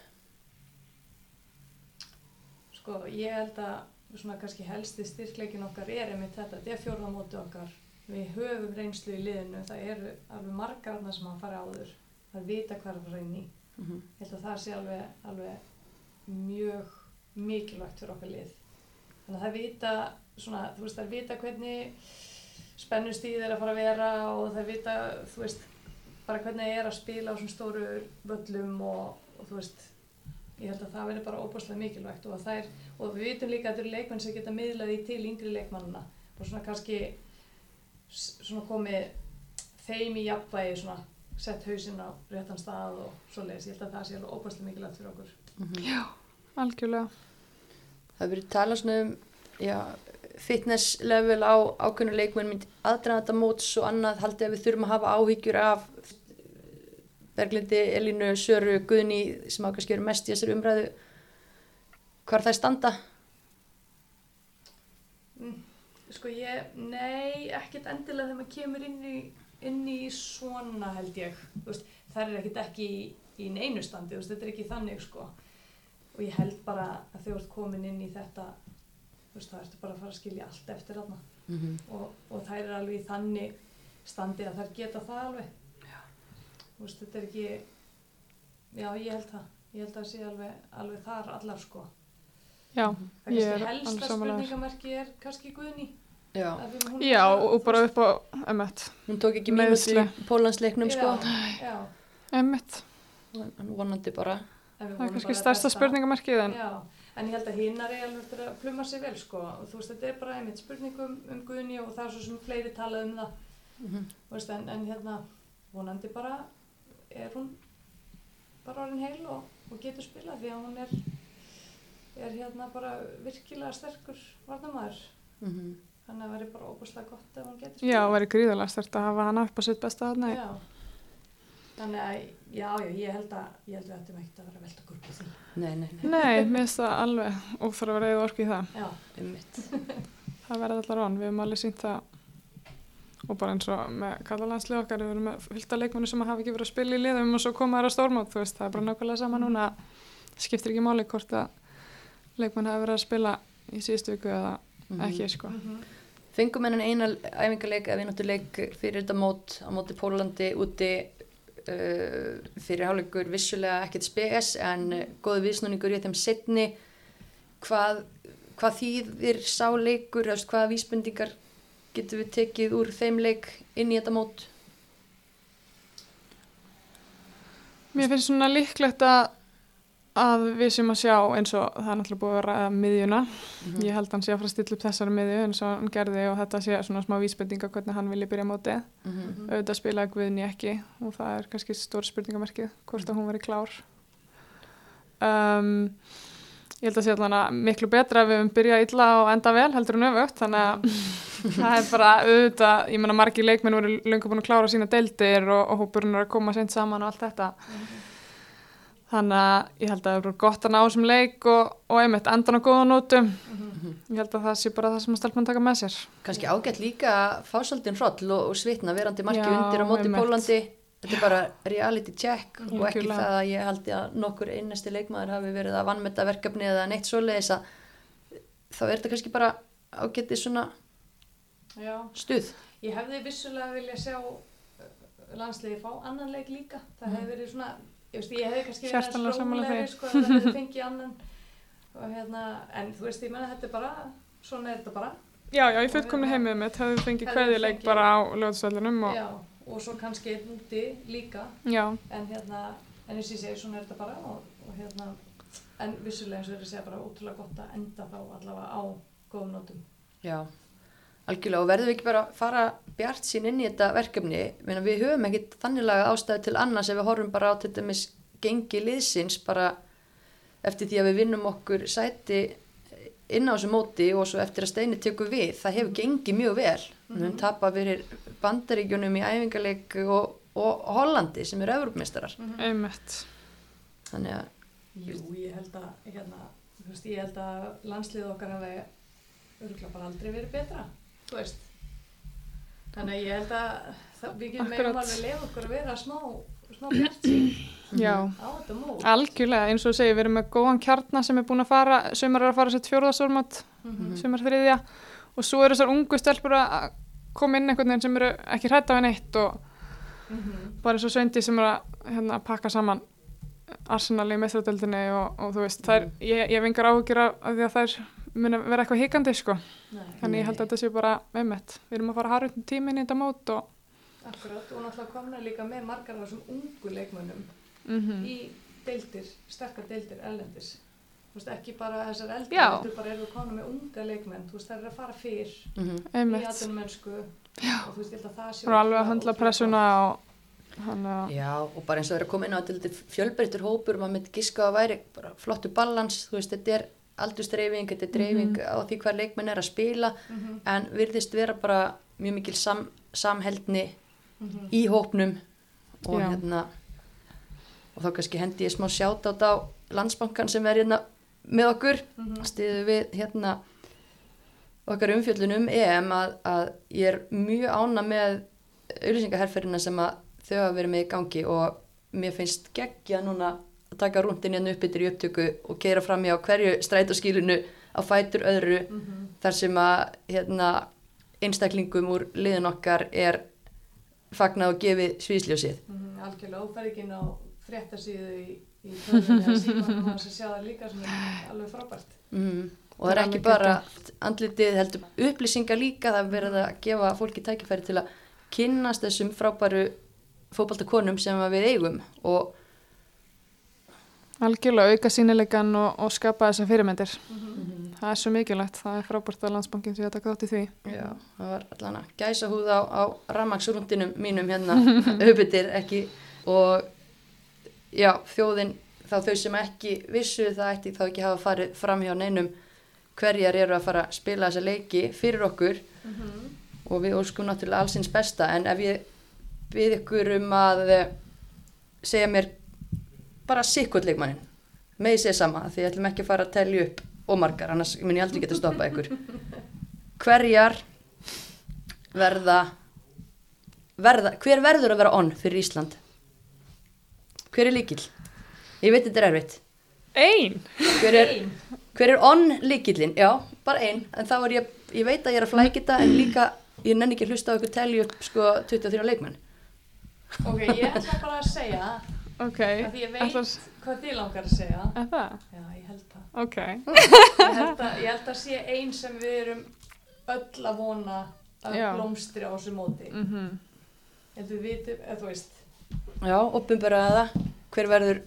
Speaker 3: Sko, ég held að svona kannski helsti styrkleikin okkar er einmitt þetta, þetta er fjórðamóti okkar. Við höfum reynslu í liðinu, það eru alveg margar annað sem að fara áður. Það er vita hvað er að reyni.
Speaker 1: mm -hmm.
Speaker 3: Ég held að það sé alveg, alveg mjög mikilvægt fyrir okkar lið. Þannig að það vita, svona, þú veist, það vita hvernig spennustíð er að fara að vera og það vita, þú veist, bara hvernig er að spila á svona stóru völlum og, og þú veist, ég held að það verður bara óbúslega mikilvægt og, að þær, og við vitum líka að þetta eru leikmenn sem geta miðlað í til yngri leikmannina og svona kannski s- svona komið þeim í jafnvægi svona sett hausinn á réttan stað og svoleiðis, ég held að það sé alveg óbærslega mikilvægt fyrir okkur.
Speaker 2: Algjörlega.
Speaker 1: það hefur verið talað svona um já, fitness level á ákveðnu leikmenn mynd aðdraganda móts og annað haldið að við þurfum að hafa áhyggjur af eh, Berglindi, Elínu, Söru, Guðni sem á kannski eru mest í þessari umræðu hvar það standa
Speaker 3: Sko ég, nei, ekkert endilega þegar maður kemur inn í, inn í svona held ég, þú veist, þær er ekkert ekki í, í neinu standi, þú veist, þetta er ekki þannig sko. Og ég held bara að þegar þú ert komin inn í þetta, þú veist, þá ertu bara að fara að skilja allt eftir þarna.
Speaker 1: mm -hmm.
Speaker 3: og, og þær er alveg í þannig standi að þær geta það alveg þú veist, þetta er ekki já, ég held það ég held að það sé alveg, alveg þar allar sko
Speaker 2: Já,
Speaker 3: Mhm. það
Speaker 2: ég er
Speaker 3: kannski
Speaker 2: alveg
Speaker 3: helsta
Speaker 2: samanlega.
Speaker 3: spurningamerki er kannski Guðni
Speaker 1: Já,
Speaker 3: af því að hún-
Speaker 2: Já, og bara upp á einmitt.
Speaker 1: hún tók ekki mínúti í
Speaker 2: Meiðsli.
Speaker 1: Pólandsleiknum sko
Speaker 3: já, já,
Speaker 2: Einmitt.
Speaker 1: hann vonandi bara
Speaker 3: en við
Speaker 2: Það er
Speaker 3: vonum bara
Speaker 2: kannski
Speaker 3: að
Speaker 2: stærsta
Speaker 3: þetta-
Speaker 2: spurningamarkið en
Speaker 3: Já, en ég held að hinnar er alveg eftir að pluma sig vel sko og þú veist þetta er bara einmitt spurningum um Guðni og það er svo sem fleiri talað um það
Speaker 1: Mhm.
Speaker 3: Þú veist, en, en hérna vonandi bara er hún bara orðin heil og, og getur spilað því að hún er er hérna bara virkilega sterkur varnamæður
Speaker 1: mm
Speaker 3: þannig að það verði bara óbúslega gott ef hún getur
Speaker 2: já,
Speaker 3: spilað
Speaker 2: væri gríðarlega stert að hafa hana upp á sitt besta þarna. í-
Speaker 3: Já. þannig að já, já, ég held að ég held að þetta er ekkert að vera að velta okkur upp í því
Speaker 1: Nei, nei, nei,
Speaker 2: Nei, mér finnst það alveg óþarf að reyða orku í það.
Speaker 3: Já,
Speaker 1: um mitt
Speaker 2: Það verða allar án, við höfum alveg sínt það og bara eins og með kallalandslið okkar, við erum með fylgta leikmennu sem hafa ekki verið að spila í liðum og svo koma þær á stórmót, þú veist, það er bara nákvæmlega sama núna, það skiptir ekki máli hvort að leikmenn hafa verið að spila í síðustu viku eða
Speaker 1: Mhm. Mm.
Speaker 2: ekki, sko.
Speaker 3: Mhm.
Speaker 1: Fengum hennan eina æfingarleik eða vináttuleik fyrir þetta mót á móti Pólandi úti uh, fyrir hálfleikur vissulega ekkert spes en uh, góðu viðsnúningur í þeim setni hvað, hvað þýðir sá leikur, eða þú veist, hvaða vísbendingar getum við tekið úr þeim leik inn í þetta mót
Speaker 2: Mér finnst svona líklegt að að við sem að sjá eins og það er náttúrulega búið að ræða miðjuna ég held að hann sé að fara að stilla upp þessari miðju eins og hann gerði og þetta sé svona smá vísbendinga hvernig hann vilji byrja mótið
Speaker 1: Mhm.
Speaker 2: auðvitað spilaði Guðni ekki og það er kannski stór spurningamarkið hvort að hún veri klár um, ég held að sé allan að miklu betra ef við höfum byrjað illa og enda vel heldur hún öfugt þannig að það er bara auðvitað, ég menna margi leikmenn voru löngu búin að klára sína deildir og, og hópurinn er að koma seint saman og allt þetta þannig að ég held að það er bara gott að ná þessum leik og, og einmitt endan á góða nótum ég held að það sé bara það sem að stelpann taka með sér
Speaker 1: kannski ágætt líka að fá svolítið hroll og, og svitna verandi marki
Speaker 2: Já,
Speaker 1: undir á móti
Speaker 2: einmitt.
Speaker 1: Pólandi þetta er bara reality check og ekki
Speaker 2: Algjörlega.
Speaker 1: það að ég haldi að nokkur einnesti leikmaður hafi verið að vannmeta verkefni eða neitt svoleiðis að þá er þetta kannski bara ágætti svona
Speaker 3: Já,
Speaker 1: stuð
Speaker 3: ég hefði vissulega viljað sjá uh, landsliði fá annan leik líka. Það hefði verið svona, ég veist, ég hefði kannski verið
Speaker 2: Hjartanlega sammála
Speaker 3: rólegri,
Speaker 2: því.
Speaker 3: sko, ef það hefði fengið annan. Og hérna, en þú veist, ég menna þetta er bara, svona er þetta bara.
Speaker 2: Já, já, í fullkomni heimið mitt hefðum við fengið
Speaker 3: Hefðum
Speaker 2: kveðileik
Speaker 3: fengið-
Speaker 2: bara á löðsvöldunum og já,
Speaker 3: Já, og svo kannski einn úti líka.
Speaker 2: já,
Speaker 3: En hérna, en eins og ég segi, svona er þetta bara og, og hérna, en vissulega eins og þeir segja bara ótrúlega gott að enda þá allavega á góðum nótum.
Speaker 1: Já, algjörlega og verðum við ekki bara að fara bjart sín inn í þetta verkefni Meina, við höfum ekki þanniglega ástæði til annars ef við horfum bara á til dæmis gengi liðsins bara eftir því að við vinnum okkur sæti inn á þessu móti og svo eftir að steini tekur við, það hefur gengið mjög vel við
Speaker 2: Mhm.
Speaker 1: höfum tapað fyrir bandaríkjunum í æfingarleik og, og Hollandi sem eru Evrópmeistarar
Speaker 2: Mhm.
Speaker 3: Mm.
Speaker 2: einmitt.
Speaker 1: þannig að
Speaker 3: Jú, ég held að, hérna, þú veist, ég held að landsliðið okkar hafi örgulega bara aldrei verið betra, þú veist. Þannig að ég held að það, við getum
Speaker 2: Akkurat.
Speaker 3: meðum alveg leið okkur að vera smá, smá bjartsýn
Speaker 2: Já,
Speaker 3: á þetta mót.
Speaker 2: Ah. algjörlega, eins og þú segir, við erum með góðan kjarnar sem er búin að fara, sumar er að fara sér fjórðastormat,
Speaker 3: Mhm.
Speaker 2: sumar þriðja og svo eru þessar ungu stelpur að að koma inn einhvern veginn sem eru ekki hrætt af henni eitt og Mhm.
Speaker 3: Mhm.
Speaker 2: bara eins og söndi sem er að hérna, pakka saman Arsenal í meðstöldinni og, og þú veist, þær, ég, ég vingar áhugjur af af því að þær muni vera eitthvað hikandi sko.
Speaker 3: Nei,
Speaker 2: Þannig ég held að þetta sé bara einmitt. Við erum að fara harrið tíminn í þetta mót og
Speaker 3: akkurat, og náttúrulega komna líka með margar af þessum ungu leikmönnum
Speaker 2: Mm.
Speaker 3: í deildir, sterkar deildir erlendis. Þú veist, ekki bara þessar eldri,
Speaker 2: Já.
Speaker 3: heldur bara eru komna með unga leikmenn, þú veist, það eru að fara fyrr
Speaker 1: Mhm.
Speaker 3: í
Speaker 2: einmitt.
Speaker 3: aðdunum mennsku. Já. Og þú veist, ég held að það sé
Speaker 2: Það er alveg að
Speaker 3: ótrúlega-
Speaker 2: höndla
Speaker 3: ótrúlega
Speaker 2: pressuna
Speaker 3: gott.
Speaker 2: og hann að,
Speaker 1: Já, og bara eins og það er að koma inn á þetta er lítið fjölbreyttur hópur, maður myndi giska að væri bara flottu balans, þú veist, þetta er aldursdreifing, þetta er dreifing á því hver leikmenn er að spila,
Speaker 3: Mhm,
Speaker 1: en virðist vera bara mjög mikil sam, samheldni
Speaker 3: mhm,
Speaker 1: í hópnum og
Speaker 2: Já.
Speaker 1: hérna, og þá kannski hendi ég smá sjátátt á landsbankan sem er hérna með okkur, mm
Speaker 3: mhm,
Speaker 1: stiðu við hérna okkar umfjöllun um EM að, að ég er mjög ána með auðlýsingaherferina sem að þau hafa verið með í gangi og mér finnst geggja núna að taka rúndin hérna upp yfir í upptöku og keira fram hjá hverju strætóskílinu á fætur öðru
Speaker 3: mhm,
Speaker 1: þar sem að hérna, einstaklingum úr liðin okkar er fagnað og gefið svísljósið.
Speaker 3: Mhm, Algjörlega, og ferð ekki inn á fréttasíðu í, í tölvunni eða símanum og þess að sjá það líka sem er alveg frábært.
Speaker 1: Mm. Og það er
Speaker 2: Það er
Speaker 1: ekki
Speaker 2: alveg
Speaker 1: bara andlitið heldur upplýsingar líka, það er verið að gefa fólki tækifæri til að kynnast þessum frábæru fótbaltakonum sem að við eigum og
Speaker 2: algjörlega auka sínilegan og, og skapa þessar fyrirmyndir.
Speaker 1: Mhm.
Speaker 2: Það er svo mikilvægt, það er frábært að landsbankin sé að taka þátt í því.
Speaker 1: Já, það var allan að gæsa húð á, á rammaksrúndinum mínum hérna auðvitað ekki og já, þjóðin þá þau sem ekki vissu það ætti þá ekki hafa farið fram hjá neinum hverjar eru að fara að spila þessa leiki fyrir okkur og við óskum náttúrulega allsins besta en ef ég byrð ykkur um að eh, segja mér bara sikkert leikmannin með sér sama því ég ætlum ekki að fara að telja upp og margar, annars mun ég aldrei geta stoppað ykkur hverjar verða, verða hver verður að vera onn fyrir Ísland hver er líkil ég veit þetta er erfitt
Speaker 2: Einn!
Speaker 1: hver er, hver er onn líkilin já, bara ein, en þá er ég ég veit að ég er að flækja þetta en líka ég nenni ekki að hlusta á ykkur telju upp sko 23 leikmenn
Speaker 3: Ok, ég ætla bara að segja,
Speaker 2: Ok,
Speaker 3: af því ég veit
Speaker 2: ætlar-
Speaker 3: hvað þið langar að segja.
Speaker 2: er það?
Speaker 3: Já, ég held það.
Speaker 2: Ok,
Speaker 3: Ég held að, ég held að sé einn sem við erum öll að vona að
Speaker 2: Já.
Speaker 3: blómstri á þessu móti. Mm -hmm.
Speaker 2: Mhm.
Speaker 3: Ég held við vitum, eða eh, þú veist,
Speaker 1: já, opinberaða það hver verður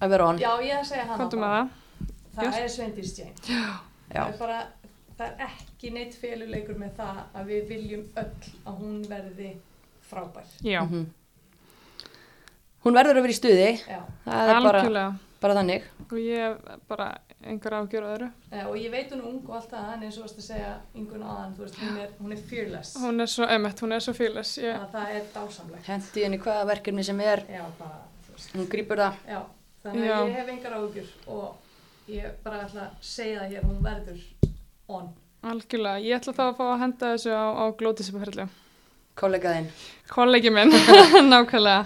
Speaker 1: að vera on
Speaker 3: Já, ég er að segja hana
Speaker 2: Komdu með það.
Speaker 3: Það
Speaker 2: Yes.
Speaker 3: er Sveindís Jane.
Speaker 1: Já.
Speaker 3: Það er bara, það er ekki neitt féluleikur með það að við viljum öll að hún verði frábær.
Speaker 2: Já,
Speaker 1: Mhm. hún verður að vera í stuði
Speaker 3: Já.
Speaker 1: það er bara,
Speaker 2: algjörlega.
Speaker 1: bara þannig
Speaker 2: Og ég hef bara einhver afgjör á öðru.
Speaker 3: Eh, Og ég veit hún er ung og allt það, en eins og varst að segja yngun aðan, þú veist, hún er, hún er fearless.
Speaker 2: Hún er svo, emmett, hún er svo fílis. Ég,
Speaker 3: Þannig að það er dásamlegt.
Speaker 1: hendi henni hvaða verkefni sem er
Speaker 3: Já, bara, þú veist,
Speaker 1: hún grýpur það
Speaker 3: já. Þannig að
Speaker 2: Já.
Speaker 3: ég hef engar áhugjur og ég bara ætla að segja það hér, hún verður on.
Speaker 2: Algjörlega, ég ætla þá að fá að henda þessu á, á glótisipferðlu.
Speaker 1: kollegaðinn
Speaker 2: Kollegi
Speaker 1: (laughs)
Speaker 2: minn, nákvæmlega,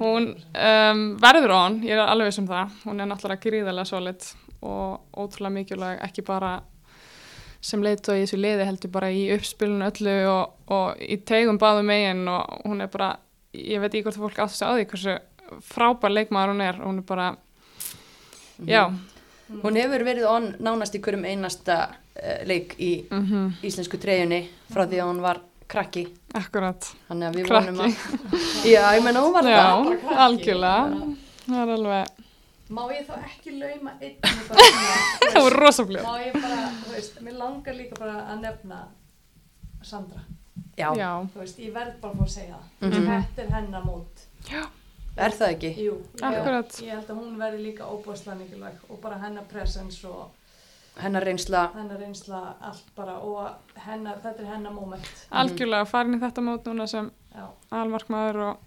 Speaker 2: hún um, verður on, ég er alveg sem það, hún er náttúrulega gríðarlega solid og ótrúlega mikilvæg, ekki bara sem leitu í þessu liði heldur bara í uppspilun öllu og, og í tegum báðum megin og hún er bara, ég veit ekki hvort fólk átt sig á því hversu frábær leikmaður hún er, hún er bara,
Speaker 1: Mhm.
Speaker 2: já,
Speaker 1: hún hefur verið on nánast í hverjum einasta uh, leik í
Speaker 2: mm
Speaker 1: íslensku treyjunni frá því að hún var krakki
Speaker 2: akkurat.
Speaker 1: þannig að við
Speaker 2: Krakki.
Speaker 1: vonum að (laughs) já, ég menna hún var
Speaker 2: Já,
Speaker 1: það
Speaker 2: algjörlega, það er alveg...
Speaker 3: Má ég þá ekki lauma
Speaker 2: (laughs)
Speaker 3: einn og bara svona, þú
Speaker 2: Það voru rosa
Speaker 3: Má
Speaker 2: blöð.
Speaker 3: ég bara, þú veist, mér langar líka bara að nefna Sandra,
Speaker 1: já,
Speaker 2: Já.
Speaker 3: þú veist, ég verð bara að fá að segja það
Speaker 1: Mhm.
Speaker 3: Þetta er hennar mót
Speaker 1: er það ekki
Speaker 3: Jú, ég-
Speaker 2: Akkurat.
Speaker 3: Ég held að hún verði líka óbúðslega mikilvæg og bara hennar presens og
Speaker 1: hennar reynsla
Speaker 3: hennar reynsla allt bara og hennar, þetta er hennar moment
Speaker 2: Algjörlega farin í þetta mót núna sem
Speaker 3: Já,
Speaker 2: almarkmaður og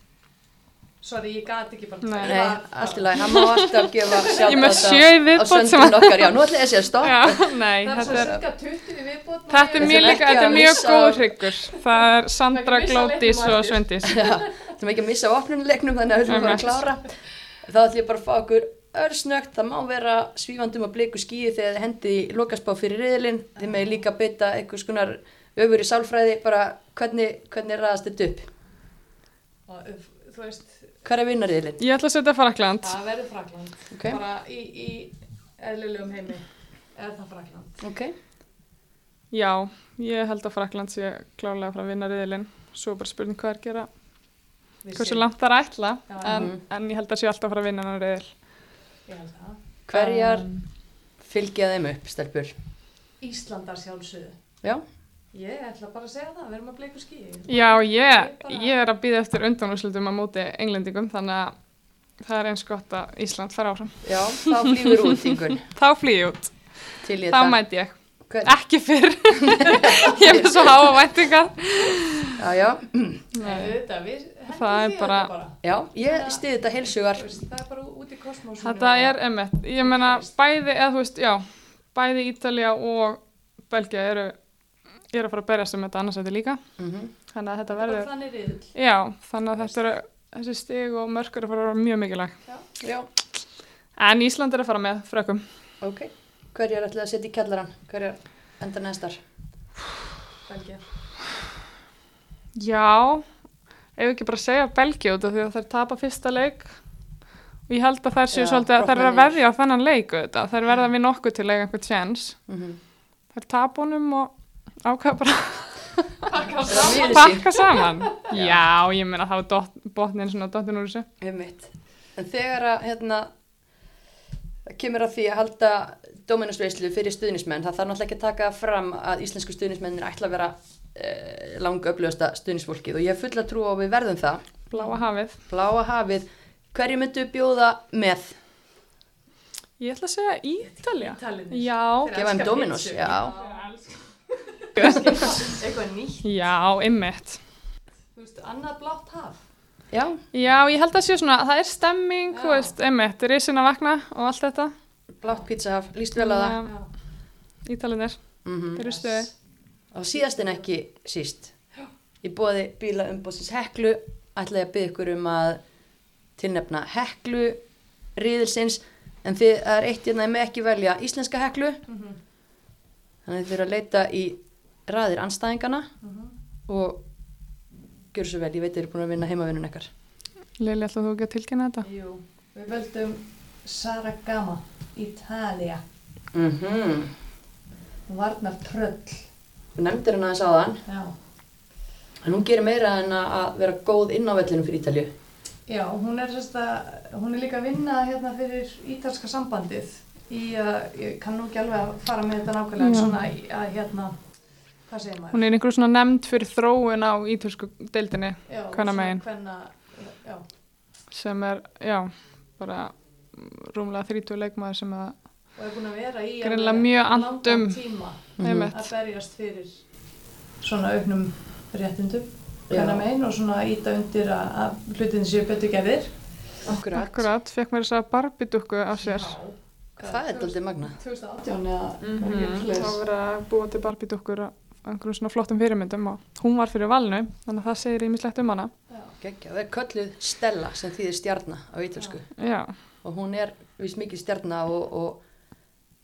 Speaker 3: sorry, ég gat ekki bara
Speaker 2: Nei.
Speaker 3: Ég
Speaker 1: Nei,
Speaker 3: var-
Speaker 1: allt í lagi, hann má alltaf gefa sjátt
Speaker 2: Ég er með sjö í
Speaker 1: á
Speaker 2: viðbót sem
Speaker 1: söndun
Speaker 2: að-
Speaker 1: okkar, já, nú ætla ég að segja stopp
Speaker 2: Já, (laughs) nei,
Speaker 3: Það er
Speaker 2: þetta
Speaker 3: svo
Speaker 2: er
Speaker 3: cirka 20 í viðbót má
Speaker 2: Þetta er
Speaker 3: ég-
Speaker 1: ætlum
Speaker 2: mjög líka,
Speaker 1: ekki
Speaker 2: þetta er
Speaker 1: að
Speaker 2: mjög
Speaker 1: missa-
Speaker 2: góður hryggur Það er Sandra
Speaker 3: Það er ekki að missa
Speaker 2: Glótis
Speaker 3: leiknum
Speaker 2: og
Speaker 3: aftur.
Speaker 2: Svendís
Speaker 1: Það er ekki að missa á opnunuleiknum þannig að við höfum bara að klára Þá ætlum ég bara að fá okkur örsnögt Það má vera svífandum að bliku skíi þegar þið hendi lokaspá fyrir riðilinn Þið með líka beita einhvers konar öfur í sálfræði bara hvernig, hvernig raðast þetta upp
Speaker 3: Og, eh, Þú veist,
Speaker 1: Hver er vinnar riðilinn?
Speaker 2: Ég ætla að setja Frakland
Speaker 3: það verður Frakland
Speaker 1: Ok.
Speaker 3: bara í, í eðlilegum heimi er það Frakland
Speaker 1: Ok,
Speaker 2: Já, ég held að Frakland sé klálega frá vinnariðilinn Svo er bara spurning hvað er að gera
Speaker 3: Við
Speaker 2: Hversu
Speaker 3: séum-
Speaker 2: langt það er að ætla
Speaker 3: Já.
Speaker 2: en, en ég held að sé alltaf frá vinnariðil
Speaker 3: Ég held það
Speaker 1: hverjar fylgja þeim upp, stelpur?
Speaker 3: Íslandar sjálfsögðu.
Speaker 1: Já,
Speaker 3: Ég ætla bara að segja það, við erum að bleiku skýi.
Speaker 2: Já, ég, ég er að býða eftir undanúslutum á móti englendingum Þannig að það er eins gott að Ísland fara áfram
Speaker 1: já, þá flýfur út yngun
Speaker 2: Þá flýði ég út,
Speaker 1: til í
Speaker 2: þá
Speaker 1: þetta
Speaker 2: mæti ég
Speaker 1: Hver-
Speaker 2: ekki fyrr (laughs) ég er með svo háa væntingar
Speaker 1: Já, já,
Speaker 3: Nei, þetta, við hendum
Speaker 2: Það er
Speaker 3: því
Speaker 2: bara-
Speaker 3: þetta bara.
Speaker 1: já, ég stiði þetta heilsugar
Speaker 3: Þú veist, Það er bara út í kosmosinu.
Speaker 2: þetta er emmett, ég meina bæði eða þú veist, já, bæði Ítalja og Belgia eru eru að fara að berjast um þetta annarsæti líka
Speaker 1: mm
Speaker 2: þannig að þetta
Speaker 3: bara
Speaker 2: verður,
Speaker 3: þannig riðil.
Speaker 2: já, þannig að þetta eru þessi stig og mörkur að fara að vera mjög mikilvæg
Speaker 1: Já,
Speaker 2: en Ísland er að fara með frökkum
Speaker 1: ok Hverjar ætlaði að setja í kjallaran? Hverjar enda næstar?
Speaker 3: Belgía.
Speaker 2: já, ef við ekki bara segja Belgia út af því að þær tapa fyrsta leik og ég held að þær séu
Speaker 1: Já,
Speaker 2: svolítið að þær eru að
Speaker 1: brotna niður.
Speaker 2: veðja á þennan leik auðvitað, þær verða við nokkuð til að eiga einhvern sjens
Speaker 1: Mm -hmm.
Speaker 2: þær tapa honum og ákveða bara
Speaker 1: Það
Speaker 3: Pakka
Speaker 1: er
Speaker 3: saman.
Speaker 1: mjög sín
Speaker 2: pakka saman já, ég meina það var dott- botnin svona dottin úr þessu
Speaker 1: Einmitt. En þegar að hérna það kemur að því að halda dóminusveislu fyrir stuðnismenn, það þarf náttúrulega ekki að taka fram að íslensku stuðnismennir ætla að vera eh, langa upplöfasta stuðnisfólkið og ég hef fulla trú á að við verðum það
Speaker 2: bláa hafið
Speaker 1: Bláa hafið, hverju myndu bjóða með?
Speaker 2: ég ætla að segja Ítalja
Speaker 3: Ítalinir.
Speaker 2: já,
Speaker 1: Gefa þeim Dominos, já.
Speaker 3: Eitthvað nýtt.
Speaker 2: já, ymmit
Speaker 3: Þú veist, annað blátt haf.
Speaker 1: Já,
Speaker 2: já, ég held að sé svona, það er stemming þú
Speaker 3: Já.
Speaker 2: veist, ymmit, risin að vakna og allt þetta
Speaker 1: blátt pítsahaf, líst vel að það
Speaker 2: Já, Ítalinir,
Speaker 1: mm
Speaker 2: þeir eru
Speaker 3: Yes.
Speaker 2: stuði
Speaker 1: og síðast en ekki síst í bóði bíla umbóðsins Heklu ætla ég að byggja ykkur um að tilnefna Heklu riðilsins en þið það er eitt hérna með ekki velja íslenska Heklu
Speaker 3: Mhm,
Speaker 1: þannig þið eru að leita í raðir anstæðingana
Speaker 3: mhm.
Speaker 1: og gjör svo vel, ég veit þið eru búin að vinna heimavinnun ekkar
Speaker 2: Lili, ætla þú ekki að tilkynna þetta?
Speaker 3: Jú, við völdum Saragama, Ítalía.
Speaker 1: mm -hmm.
Speaker 3: Hún varnar tröll.
Speaker 1: nefndir henn aðeins á þann
Speaker 3: Já.
Speaker 1: en hún gerir meira en að- að vera góð inn á vellinu fyrir Ítalju
Speaker 3: Já, hún er, sérst, að, hún er líka að vinna hérna fyrir ítalska sambandið í að, ég kann nú ekki alveg að fara með þetta nákvæmlega, en
Speaker 2: Já.
Speaker 3: svona í- að hérna, hvað segir maður?
Speaker 2: Hún er einhver svona nefnd fyrir þróun á ítölsku deildinni
Speaker 3: já,
Speaker 2: kvennamegin.
Speaker 3: Hvenna, já,
Speaker 2: sem er, já, bara rúmlega 30 leikmaður sem að,
Speaker 3: og er búin að vera í
Speaker 2: Greinilega
Speaker 3: alveg
Speaker 2: mjög
Speaker 3: langan
Speaker 2: andum.
Speaker 3: tíma
Speaker 2: einmitt,
Speaker 3: að berjast fyrir svona auknum réttindum
Speaker 1: Já.
Speaker 3: kvennamegin og svona íta undir að, að hlutin séu betur gerðir.
Speaker 1: Akkurat.
Speaker 2: akkurat, fekk mér þess að barbidukku af sér.
Speaker 1: Það er daldið magna.
Speaker 3: 2018 eða
Speaker 2: Mhm,
Speaker 3: eitthvað
Speaker 2: Það
Speaker 3: svoleiðis.
Speaker 2: var að búa til barbidukkur af einhverjum svona flottum fyrirmyndum og hún var fyrir valnu, þannig að það segir ímislegt um hana.
Speaker 1: Gekkja. Það er kölluð Stella sem þýðir stjarna á ítalsku.
Speaker 2: Já,
Speaker 1: Og hún er vist mikið stjarna og, og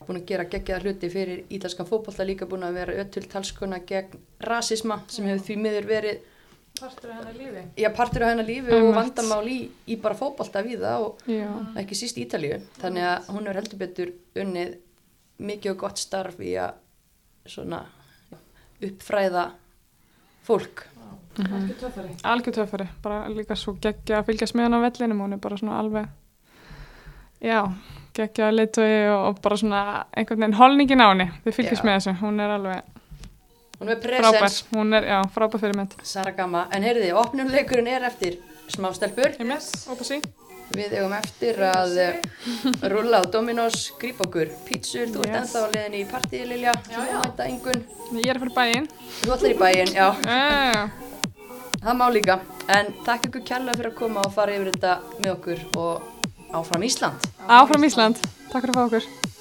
Speaker 1: búin að gera geggjaða hluti fyrir ítalskan fótbolta líka búin að vera öll talskona gegn rasisma sem hefur því miður verið
Speaker 3: Partur af hennar lífi.
Speaker 1: Já, partur á hennar lífi og
Speaker 2: Einmitt.
Speaker 1: vandamál í, í bara fótbolta við það og
Speaker 2: já,
Speaker 1: ekki síst Ítalíu. Þannig að hún er heldur betur unnið mikið og gott starf í að svona uppfræða fólk.
Speaker 3: Það
Speaker 2: Mhm.
Speaker 3: er ekki töffari.
Speaker 2: algjör töfari, bara líka svo geggja að fylgjast með hann á vellinum, hún er bara svona alveg, já, geggja að leitögi og, og bara svona einhvern veginn holningin á henni, þið fylgjast
Speaker 1: Já.
Speaker 2: með þessu, hún er alveg
Speaker 1: Hún er
Speaker 2: frábær,
Speaker 1: presens,
Speaker 2: hún er, já, frábær fyrirmynd.
Speaker 1: Saragama. En heyrði, opnumleikurinn er eftir smástelpur.
Speaker 2: Einmitt, opa sí.
Speaker 1: Við eigum eftir að eh, rúlla á Dominos, grípa okkur pítsur. Þú ert
Speaker 2: Yes.
Speaker 1: ennþá að leiðin í partíi, Lilja. Já, já. Mæta engun.
Speaker 2: Ég er fyrir bæinn.
Speaker 1: Þú ætlar í bæinn, já.
Speaker 2: Já, já, já.
Speaker 1: Það má líka, en takk ykkur kærlega fyrir að koma og fara yfir þetta með okkur og áfram Ísland.
Speaker 2: Áfram Ísland, takk fyrir að fá okkur.